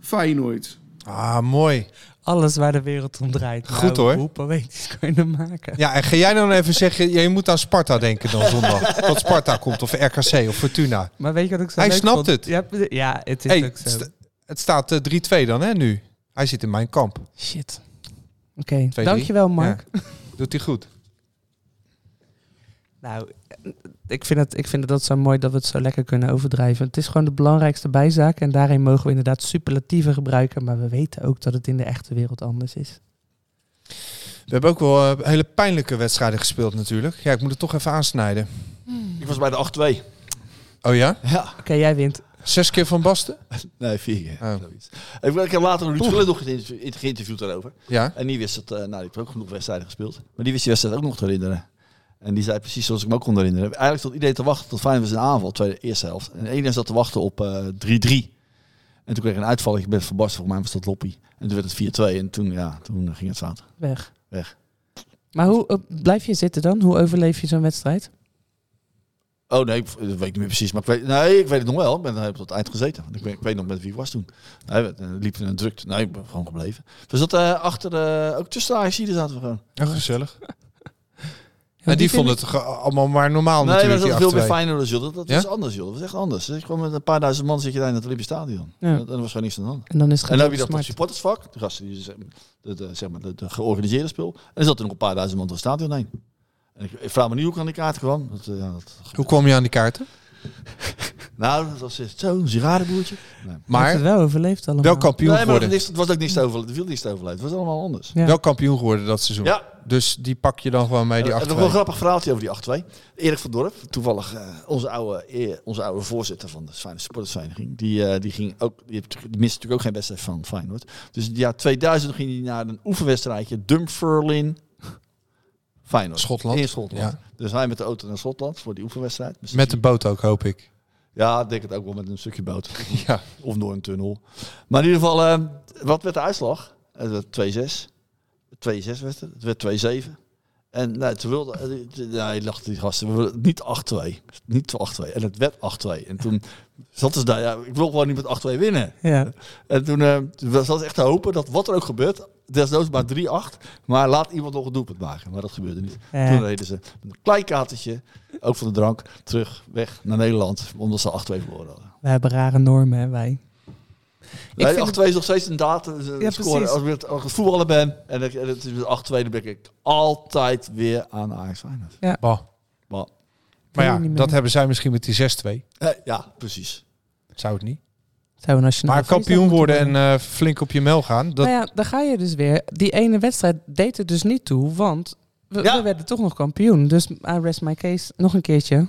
Feyenoord. Ah, mooi. Alles waar de wereld om draait. Nou, Goed, hoor. Hoe poëtisch kan je dat maken? Ja, en ga jij dan even zeggen, ja, je moet aan Sparta denken dan [LAUGHS] zondag. dat Sparta komt, of RKC, of Fortuna. Maar weet je wat ik zo Hij leuk snapt vond? het. Ja, p- ja, het is Hey, ook zo. het sta- het staat eh, 3-2 dan, hè, nu. Hij zit in mijn kamp. Shit. Oké, drie. dankjewel Mark. Ja. Doet hij goed. Nou, eh, ik vind, het, ik vind het dat zo mooi dat we het zo lekker kunnen overdrijven. Het is gewoon de belangrijkste bijzaak en daarin mogen we inderdaad superlatieven gebruiken. Maar we weten ook dat het in de echte wereld anders is. We hebben ook wel eh, hele pijnlijke wedstrijden gespeeld natuurlijk. Ja, ik moet het toch even aansnijden. Ik was bij de 8-2. Oh ja? Ja. Oké, jij wint. Zes keer Van Basten? Nee, vier keer. Oh. zoiets. Ik, ik heb later Ruud Gullit nog geïnterview- geïnterviewd daarover. Ja. En die wist het, eh, nou die heeft ook genoeg wedstrijden gespeeld. Maar die wist die wedstrijd ook nog te herinneren. En die zei precies zoals ik me ook kon herinneren. Eigenlijk zat iedereen te wachten tot Feyenoord was in aanval, tweede, eerste helft. En iedereen zat te wachten op eh, 3-3. En toen kreeg ik een uitval, ik ben verbarst, volgens mij was dat Loppie. En toen werd het 4-2 en toen, ja, toen eh, ging het fout. Weg. Weg. Maar hoe eh, blijf je zitten dan? Hoe overleef je zo'n wedstrijd? Oh nee, ik, dat weet ik niet meer precies. Maar ik weet, nee, ik weet het nog wel. Ik ben eh, heb tot het eind gezeten. Want Ik, weet- ik weet nog met wie ik was toen. Nee, we eh, liepen in een drukte. Nee, ik ben gewoon gebleven. We zaten eh, achter, eh, ook tussen de AIC zaten we gewoon. Ja, Oh, gezellig. Ja, En Nou, die vind vond het ge- allemaal maar normaal nee, maar natuurlijk. dat die is veel meer 8-2. Feyenoord joh. Dat, dat Ja? is anders, joh. Dat is echt anders. Dat is Gewoon met een paar duizend man zit je daar in het Olympisch Stadion. Ja. En dan was gewoon niks aan de hand. ik- En dan is het En dan heb je dat smart. het supportersvak, de gasten die zeg- de, de, zeg maar, de, de georganiseerde spul. En er zat er nog een paar duizend man door het stadion heen. En ik, ik vraag me niet hoe ik aan die kaart kwam. Dat, eh, ja, dat, Hoe kwam je aan die kaarten? nou, dat was echt zo, een sigarenboertje. Nee. Je hebt Maar het wel overleefd allemaal. wel kampioen Nee, maar geworden. het, is- het was ook niks te overleven. Het viel niks te overleven. Het was allemaal anders. Ja. Wel kampioen geworden dat seizoen. Ja, Dus die pak je dan gewoon mee, die En Eh, nog wel een 8-2. grappig verhaaltje over die 8-2. Erik van Dorp, toevallig eh, onze, oude, eh, onze oude voorzitter van de Feyenoord supportersvereniging. Die, eh, die, ging ook, die, heeft, die miste natuurlijk ook geen wedstrijd van Feyenoord. Dus in het jaar 2000 ging hij naar een oefenwedstrijdje. Dumferlin, Feyenoord. Schotland. In Schotland. Ja. Dus hij met de auto naar Schotland voor die oefenwedstrijd. Dus Met de boot ook, hoop ik. [LAUGHS] ja, ik denk het ook wel met een stukje boot. Ja. Of door een tunnel. Maar in ieder geval, eh, wat werd de uitslag? Het werd 2-6. 2-6 werd het. Het werd 2-7. En nou, toen wilde... eh, die- die- Nee, lachten die gasten. We willen niet 8-2. Niet 8-2. En het werd 8-2. En toen [LAUGHS] zat ze daar... Ja, ik wil gewoon niet met 8-2 winnen. Ja. En toen eh, toen was dat echt te hopen dat wat er ook gebeurt... Desnoods maar 3-8. Maar laat iemand nog een doelpunt maken. Maar dat gebeurde niet. Eh. Toen reden ze met een klein katertje, ook van de drank, terug weg naar Nederland. Omdat ze 8-2 verloren hadden. We hebben rare normen, hè, wij. Nee, vind 8-2 het- is nog steeds een datum. Ze Ja, scoren. precies. Als ik met- als ik voetballer ben en, ik, en het is met 8-2, dan ben ik altijd weer aan Ajax Bah. Feyenoord. Bah. Maar Wil je ja, niet dat meer? hebben zij misschien met die 6-2. Eh, ja, precies. Zou het niet? Zou een nationaal Maar feestdag kampioen moeten worden en eh, flink op je mel gaan. Dat, Nou ja, daar ga je dus weer. Die ene wedstrijd deed er dus niet toe, want we, Ja. we werden toch nog kampioen. Dus I rest my case nog een keertje.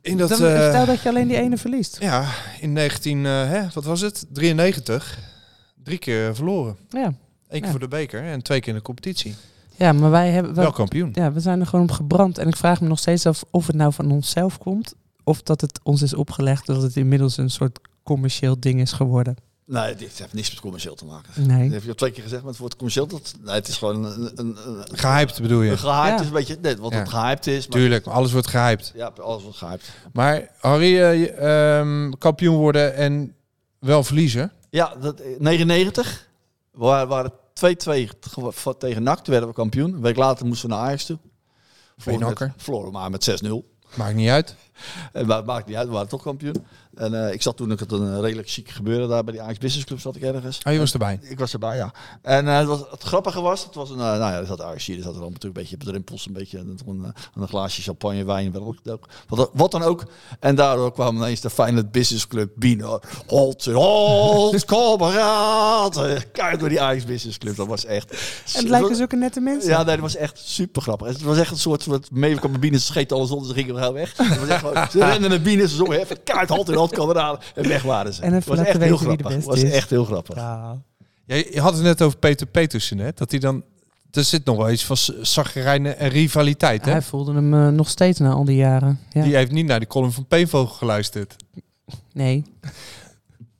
in dat, Dan, eh, stel dat je alleen die ene verliest. ja, in 19, eh, hè, wat was het? 93. Drie keer verloren. Ja, Eén keer Ja. voor de beker en twee keer in de competitie. ja maar wij hebben... we- Wel kampioen. ja, we zijn er gewoon op gebrand. En ik vraag me nog steeds af of het nou van onszelf komt... of dat het ons is opgelegd dat het inmiddels een soort commercieel ding is geworden. Nee, dit heeft niks met commercieel te maken. Dat Nee. heb je al twee keer gezegd, maar het woord commercieel, dat, nee, het is gewoon een, een, een, een Gehyped bedoel je? gehyped Ja. is een beetje, net wat Ja. het gehyped is. Maar, Tuurlijk, alles wordt gehyped. Ja, alles wat gehyped. Maar Harry, eh, je, ehm, kampioen worden en wel verliezen. Ja, dat, eh, 99, waar waren 2-2 ge- va- tegen NAC, toen werden we kampioen. Een week later moesten we naar Ajax toe. Verloren met- nakker. Verloren maar met 6-0. Maakt niet uit. En Eh, maar het maakt niet uit, we waren toch kampioen. En eh, ik zat toen ook het een redelijk chic gebeuren daar bij die Ajax Business Club zat ik ergens. Ah, je was erbij. Ik was erbij, ja. En eh, het, was, het grappige was, het was een, eh, nou ja, er zat Ajax hier, er zat er natuurlijk een beetje op de rimpels, een beetje een, een, eh, een glaasje champagne, wijn, wel ook- wat, wat dan ook. En daardoor kwam ineens de Feyenoord Business Club binnen. Halt, halt, kameraden. Kijk door die Ajax Business Club, dat was echt... En het dus lijken zulke nette mensen. Ja, nee, dat was echt super grappig. Het was echt een soort van mee kwam binnen, ze scheten alles onder, ze gingen wel weg. Het was echt gewoon, ze renden naar binnen, ze zongen even kaart, halt in hand, kameraden. En weg waren ze. En even Het was laten echt heel weten wie de grappig. Het beste was is. echt heel grappig. Ja. Jij je had het net over Peter Petersen, hè? Dat hij dan... Er zit nog wel iets van zagrijnen en rivaliteit, hè? Hij voelde hem eh, nog steeds na al die jaren. Ja. Die heeft niet naar de column van Peenvogel geluisterd. Nee.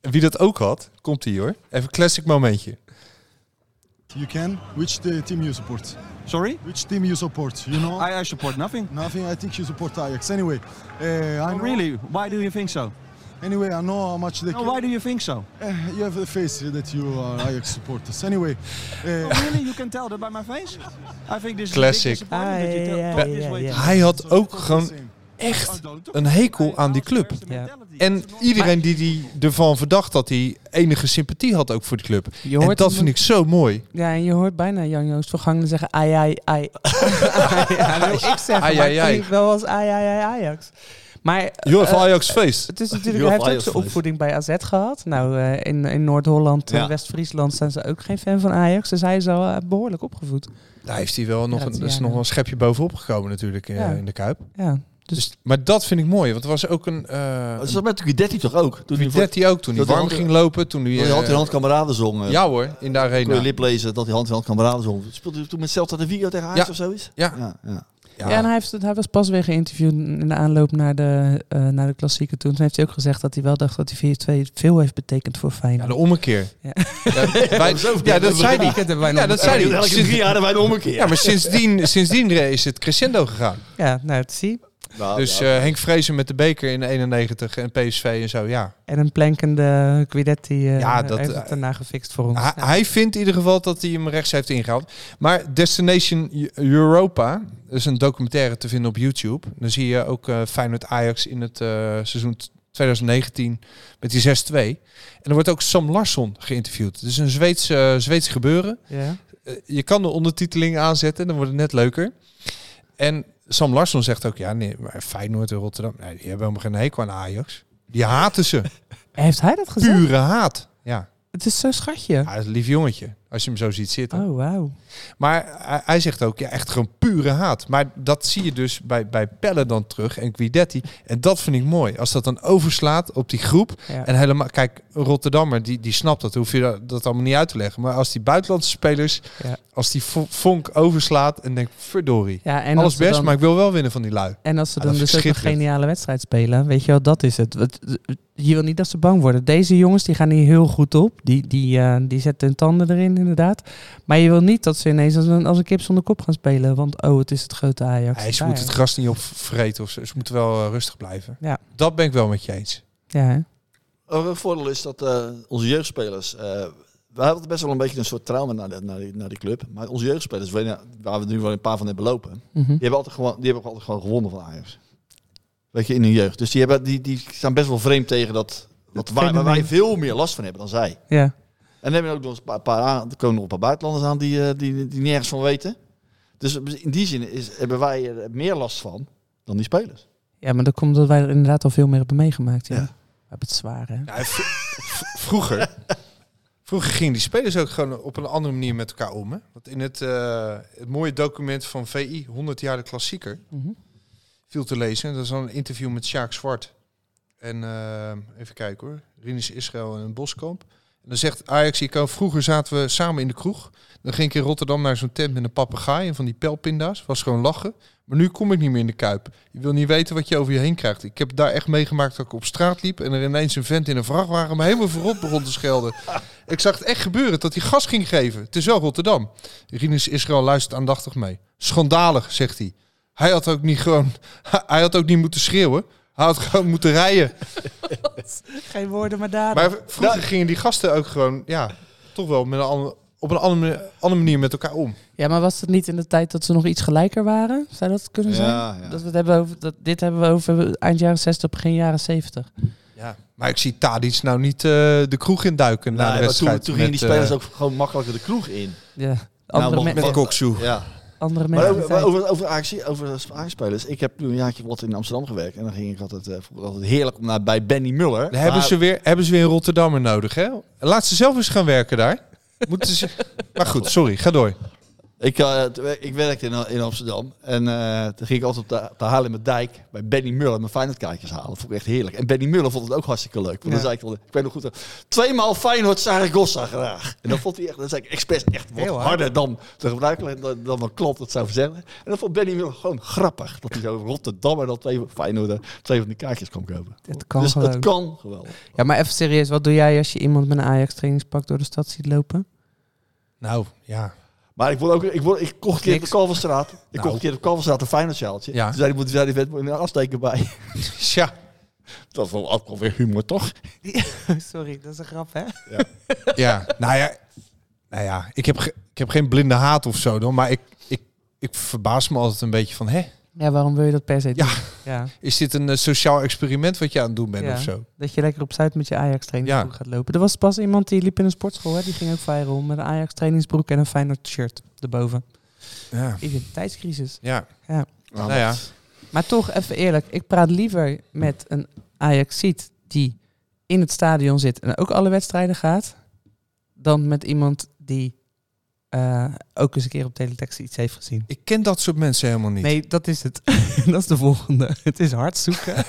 En Wie dat ook had, komt hier hoor. Even een classic momentje. You can? Which the team you support? Sorry? Which team you support? You know? I, I support nothing. Nothing. I think you support Ajax. Anyway, uh, I Oh, know, really? Why do you think so? Anyway, I know how much they. No, why do you think so? Eh, you have a face that you are Ajax supporters. Anyway, eh, Oh, really? You can tell that by my face? I think this Classic. is a big disappointment that you tell- Ah, talk ja, this ja, way ja. to- Hij had ook gewoon same. echt Oh, don't- een hekel aan die club. Ja. En iedereen die, die ervan verdacht dat hij enige sympathie had ook voor die club. Je En hoort dat hem- vind ik zo mooi. Ja, en je hoort bijna Jan-Joost Vergangenen zeggen ai, ai, [LAUGHS] ai. ja, dat wil ik zeggen, Ai, maar ai, het ai. klinkt wel als ai, ai, ai, Ajax. Maar Jorf eh, Ajax feest. het is natuurlijk, Joh, hij heeft ook Ajax zijn feest. opvoeding bij AZ gehad. Nou, eh, in, in Noord-Holland en Ja. West-Friesland zijn ze ook geen fan van Ajax. Dus hij is al eh, behoorlijk opgevoed. Daar heeft hij wel nog, Ja, een, dat is er is ja, nog ja. wel een schepje bovenop gekomen natuurlijk eh, Ja. in de Kuip. Ja, Dus, maar dat vind ik mooi, want er was ook een... Dat eh zat met Guidetti toch ook? Toen hij voor- Detti ook, toen hij dat warm hij- ging lopen. Toen hij, Toen hij hand in eh, hand kameraden zong. eh, Ja hoor, in de Kon je arena. lip lezen dat hij hand in hand kameraden zong. Speelde hij toen met Celta de Vigo tegen Ajax Ja. of zoiets? Ja. ja, ja. Ah. Ja, en hij, heeft, hij was pas weer geïnterviewd in de aanloop naar de, eh, naar de klassieke toen. Toen heeft hij ook gezegd dat hij wel dacht dat die 4-2 veel heeft betekend voor Ja, de Feyenoord. ommekeer. [LAUGHS] Ja. Ja, wij- ja, dat zei hij. weekend hebben wij nog Ja, dat een- zei hij. Elke drie Sinds- jaar hebben wij de ommekeer. Ja, maar sindsdien, sindsdien is het crescendo gegaan. Ja, nou, het zie. Nou, Dus ja. eh, Henk Vrezen met de beker in 91 en PSV en zo, ja. En een plankende Guidetti eh Ja, dat- heeft het daarna gefixt voor ons. Hij, hij vindt in ieder geval dat hij hem rechts heeft ingehaald. Maar Destination Eu- Europa dat is een documentaire te vinden op YouTube. Dan zie je ook eh Feyenoord Ajax in het eh, seizoen t- 2019 met die 6-2. En er wordt ook Sam Larsson geïnterviewd. Het is een Zweeds, eh, Zweeds gebeuren. ja. Eh, je kan de ondertiteling aanzetten, dan wordt het net leuker. En Sam Larsson zegt ook, ja, nee, maar Feyenoord en Rotterdam, nee, die hebben helemaal geen hekel aan Ajax. Die haten ze. Heeft hij dat gezegd? Pure haat. Ja, Het is zo'n schatje. hij is een lief jongetje, als je hem zo ziet zitten. Oh, wauw. Maar hij, hij zegt ook, ja, echt gewoon pure haat. Maar dat zie je dus bij, bij Pelle dan terug en Guidetti. En dat vind ik mooi. Als dat dan overslaat op die groep. Ja. En helemaal, kijk, een Rotterdammer, die, die snapt dat. Hoef je dat, dat allemaal niet uit te leggen. Maar als die buitenlandse spelers, Ja. als die vo- vonk overslaat en denkt, verdorie. Ja, en als alles ze best, dan- maar ik wil wel winnen van die lui. En als ze Ja, dan dat vind dus ook ik een schitterend. geniale wedstrijd spelen, weet je wel, dat is het. Wat- Je wil niet dat ze bang worden. Deze jongens die gaan hier heel goed op. Die, die, eh, die zetten hun tanden erin, inderdaad. Maar je wil niet dat ze ineens als een, als een kip zonder kop gaan spelen. Want oh, het is het grote Ajax. Hij, ze Daar. moeten het gras niet opvreten of zo. Ze moeten wel eh, rustig blijven. Ja. Dat ben ik wel met je eens. Ja, hè? Ook Een voordeel is dat eh, onze jeugdspelers. eh we hadden best wel een beetje een soort trauma naar, de- naar, die, naar die club. Maar onze jeugdspelers, weet je, waar we nu wel een paar van hebben lopen, die Mhm. hebben, altijd gewoon, die hebben ook altijd gewoon gewonnen van Ajax. Weet je, in hun jeugd. Dus die, hebben, die, die staan best wel vreemd tegen dat. Wat, waar, waar wij fenomeen. veel meer last van hebben dan zij. ja. En dan hebben we ook nog een paar, paar, aan- er komen nog een paar buitenlanders aan die, eh, die, die nergens van weten. Dus in die zin is, hebben wij er meer last van dan die spelers. ja, maar dat komt omdat wij er inderdaad al veel meer hebben meegemaakt. Ja. Ja. hebben het zwaar, hè? Ja, v- v- vroeger, vroeger gingen die spelers ook gewoon op een andere manier met elkaar om. Hè? Want in het, eh, het mooie document van VI, 100 jaar de klassieker, Mhm. viel te lezen. Dat is dan een interview met Sjaak Zwart. En eh, even kijken hoor, Rinus Israël en Boskamp. En dan zegt Ajax, ik vroeger zaten we samen in de kroeg. Dan ging ik in Rotterdam naar zo'n tent met een papegaai en van die pelpinda's. Was gewoon lachen. Maar nu kom ik niet meer in de kuip. Je wil niet weten wat je over je heen krijgt. Ik heb daar echt meegemaakt dat ik op straat liep en er ineens een vent in een vrachtwagen me helemaal voorop begon te schelden. Ik zag het echt gebeuren dat hij gas ging geven. Het is wel Rotterdam. Rinus Israël luistert aandachtig mee. Schandalig, zegt hij. Hij had ook niet gewoon, hij had ook niet moeten schreeuwen. Hij had gewoon moeten rijden. Geen woorden, maar daden. Maar vroeger gingen die gasten ook gewoon, ja, toch wel met een ander- op een andere, andere manier met elkaar om. Ja, maar was het niet in de tijd dat ze nog iets gelijker waren? Zou dat kunnen zijn? Ja, ja. Dat we het hebben over, dat, dit hebben we over eind jaren 60, begin jaren 70. Ja. Maar ik zie Tadic nou niet eh, de kroeg induiken na de maar Nou, toen, wedstrijd. toen gingen die met, spelers eh, ook gewoon makkelijker de kroeg in. Ja, andere, maar- me- Nou, Met Koksu. Ja. andere Nou, Maar over, mentaliteit. maar over, over, AXI over spelers. Ik heb nu een jaartje wat in Amsterdam gewerkt. En dan ging ik altijd, eh, vond ik altijd heerlijk om naar, bij Benny Muller. Dan hebben, Maar- ze weer, hebben ze weer een Rotterdammer nodig, hè? Laat ze zelf eens gaan werken daar. Moeten [LAUGHS] ze... Maar goed, sorry, ga door. Ik, eh, t- ik werkte in, in Amsterdam en eh, toen ging ik altijd op de, op de Haarlemmerdijk bij Benny Muller mijn Feyenoordkaartjes halen. Dat vond ik echt heerlijk. En Benny Muller vond het ook hartstikke leuk. Want dan zei ik, altijd, ik weet nog goed, eh, tweemaal Feyenoord Saragossa graag. En dan vond hij echt, dan zei ik expres echt wat harder dan de gebruikelijke, dan, dan mijn klant het zou zeggen. En dan vond Benny Muller gewoon grappig dat hij zo in Rotterdam en dan twee Feyenoord eh, twee van die kaartjes kon kopen. Het kan dus gewoon. het kan gewoon. Ja, maar even serieus. Wat doe jij als je iemand met een Ajax trainingspak door de stad ziet lopen? Nou, ja. Maar ik, word ook, ik, word, ik kocht een keer op de Niks. Kalverstraat. Ik Nou. kocht een keer op de Kalverstraat een Feyenoordjaaltje. Ja. Toen zei hij, moet zei die wet een afsteken bij. Ja, Dat is wel ook wel weer humor, toch? [LAUGHS] Sorry, dat is een grap, hè? ja. Nou ja, nou ja ik, heb ge- ik heb geen blinde haat of zo, dan, maar ik, ik, ik verbaas me altijd een beetje van... Hè, Ja, waarom wil je dat per se doen? Ja. Ja, is dit een eh, sociaal experiment wat je aan het doen bent Ja. of zo? dat je lekker op Zuid met je Ajax trainingsbroek Ja. gaat lopen. Er was pas iemand die liep in een sportschool, hè? Die ging ook viral met een Ajax trainingsbroek en een Feyenoord shirt erboven. Ja. Identiteitscrisis. Ja. Ja. Nou ja. Maar toch, even eerlijk. Ik praat liever met een Ajaxiet die in het stadion zit en ook alle wedstrijden gaat, dan met iemand die eh, ook eens een keer op teletext iets heeft gezien. Ik ken dat soort mensen helemaal niet. Nee, dat is het. [LAUGHS] dat is de volgende. Het is hard zoeken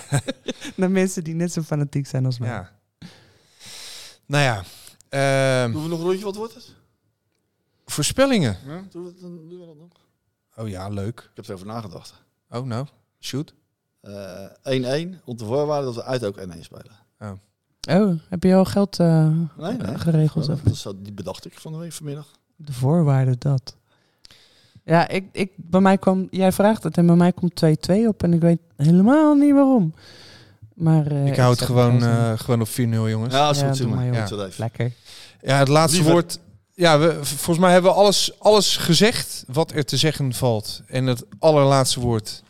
naar mensen die net zo fanatiek zijn als mij. Ja. Nou ja, ehm, Doen we nog een rondje, wat wordt het? voorspellingen. Doen we, doen we dat nog? Oh ja, leuk. Ik heb erover nagedacht. Oh nou, shoot. Eh, 1-1, op de voorwaarde dat we uit ook 1-1 spelen. Oh, heb je al geld eh, Nee, nee. geregeld? Dat is zo- die bedacht ik van de week vanmiddag. De voorwaarden dat. Ja, ik, ik, bij mij kwam, jij vraagt het en bij mij komt 2-2 op en ik weet helemaal niet waarom. Maar, eh, Ik hou het zet gewoon, wel eens eh, gewoon op 4-0, jongens. Ja, dat is Ja, goed, doe zeg maar. maar, joh. Doe dat in. even. Lekker. Ja, het laatste Lieverd. woord. Ja, we, v- volgens mij hebben we alles, alles gezegd wat er te zeggen valt. En het allerlaatste woord.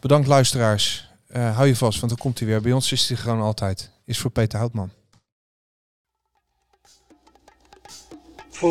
Bedankt luisteraars. Eh, hou je vast, want dan komt hij weer. Bij ons is hij gewoon altijd. Is voor Peter Houtman. Voor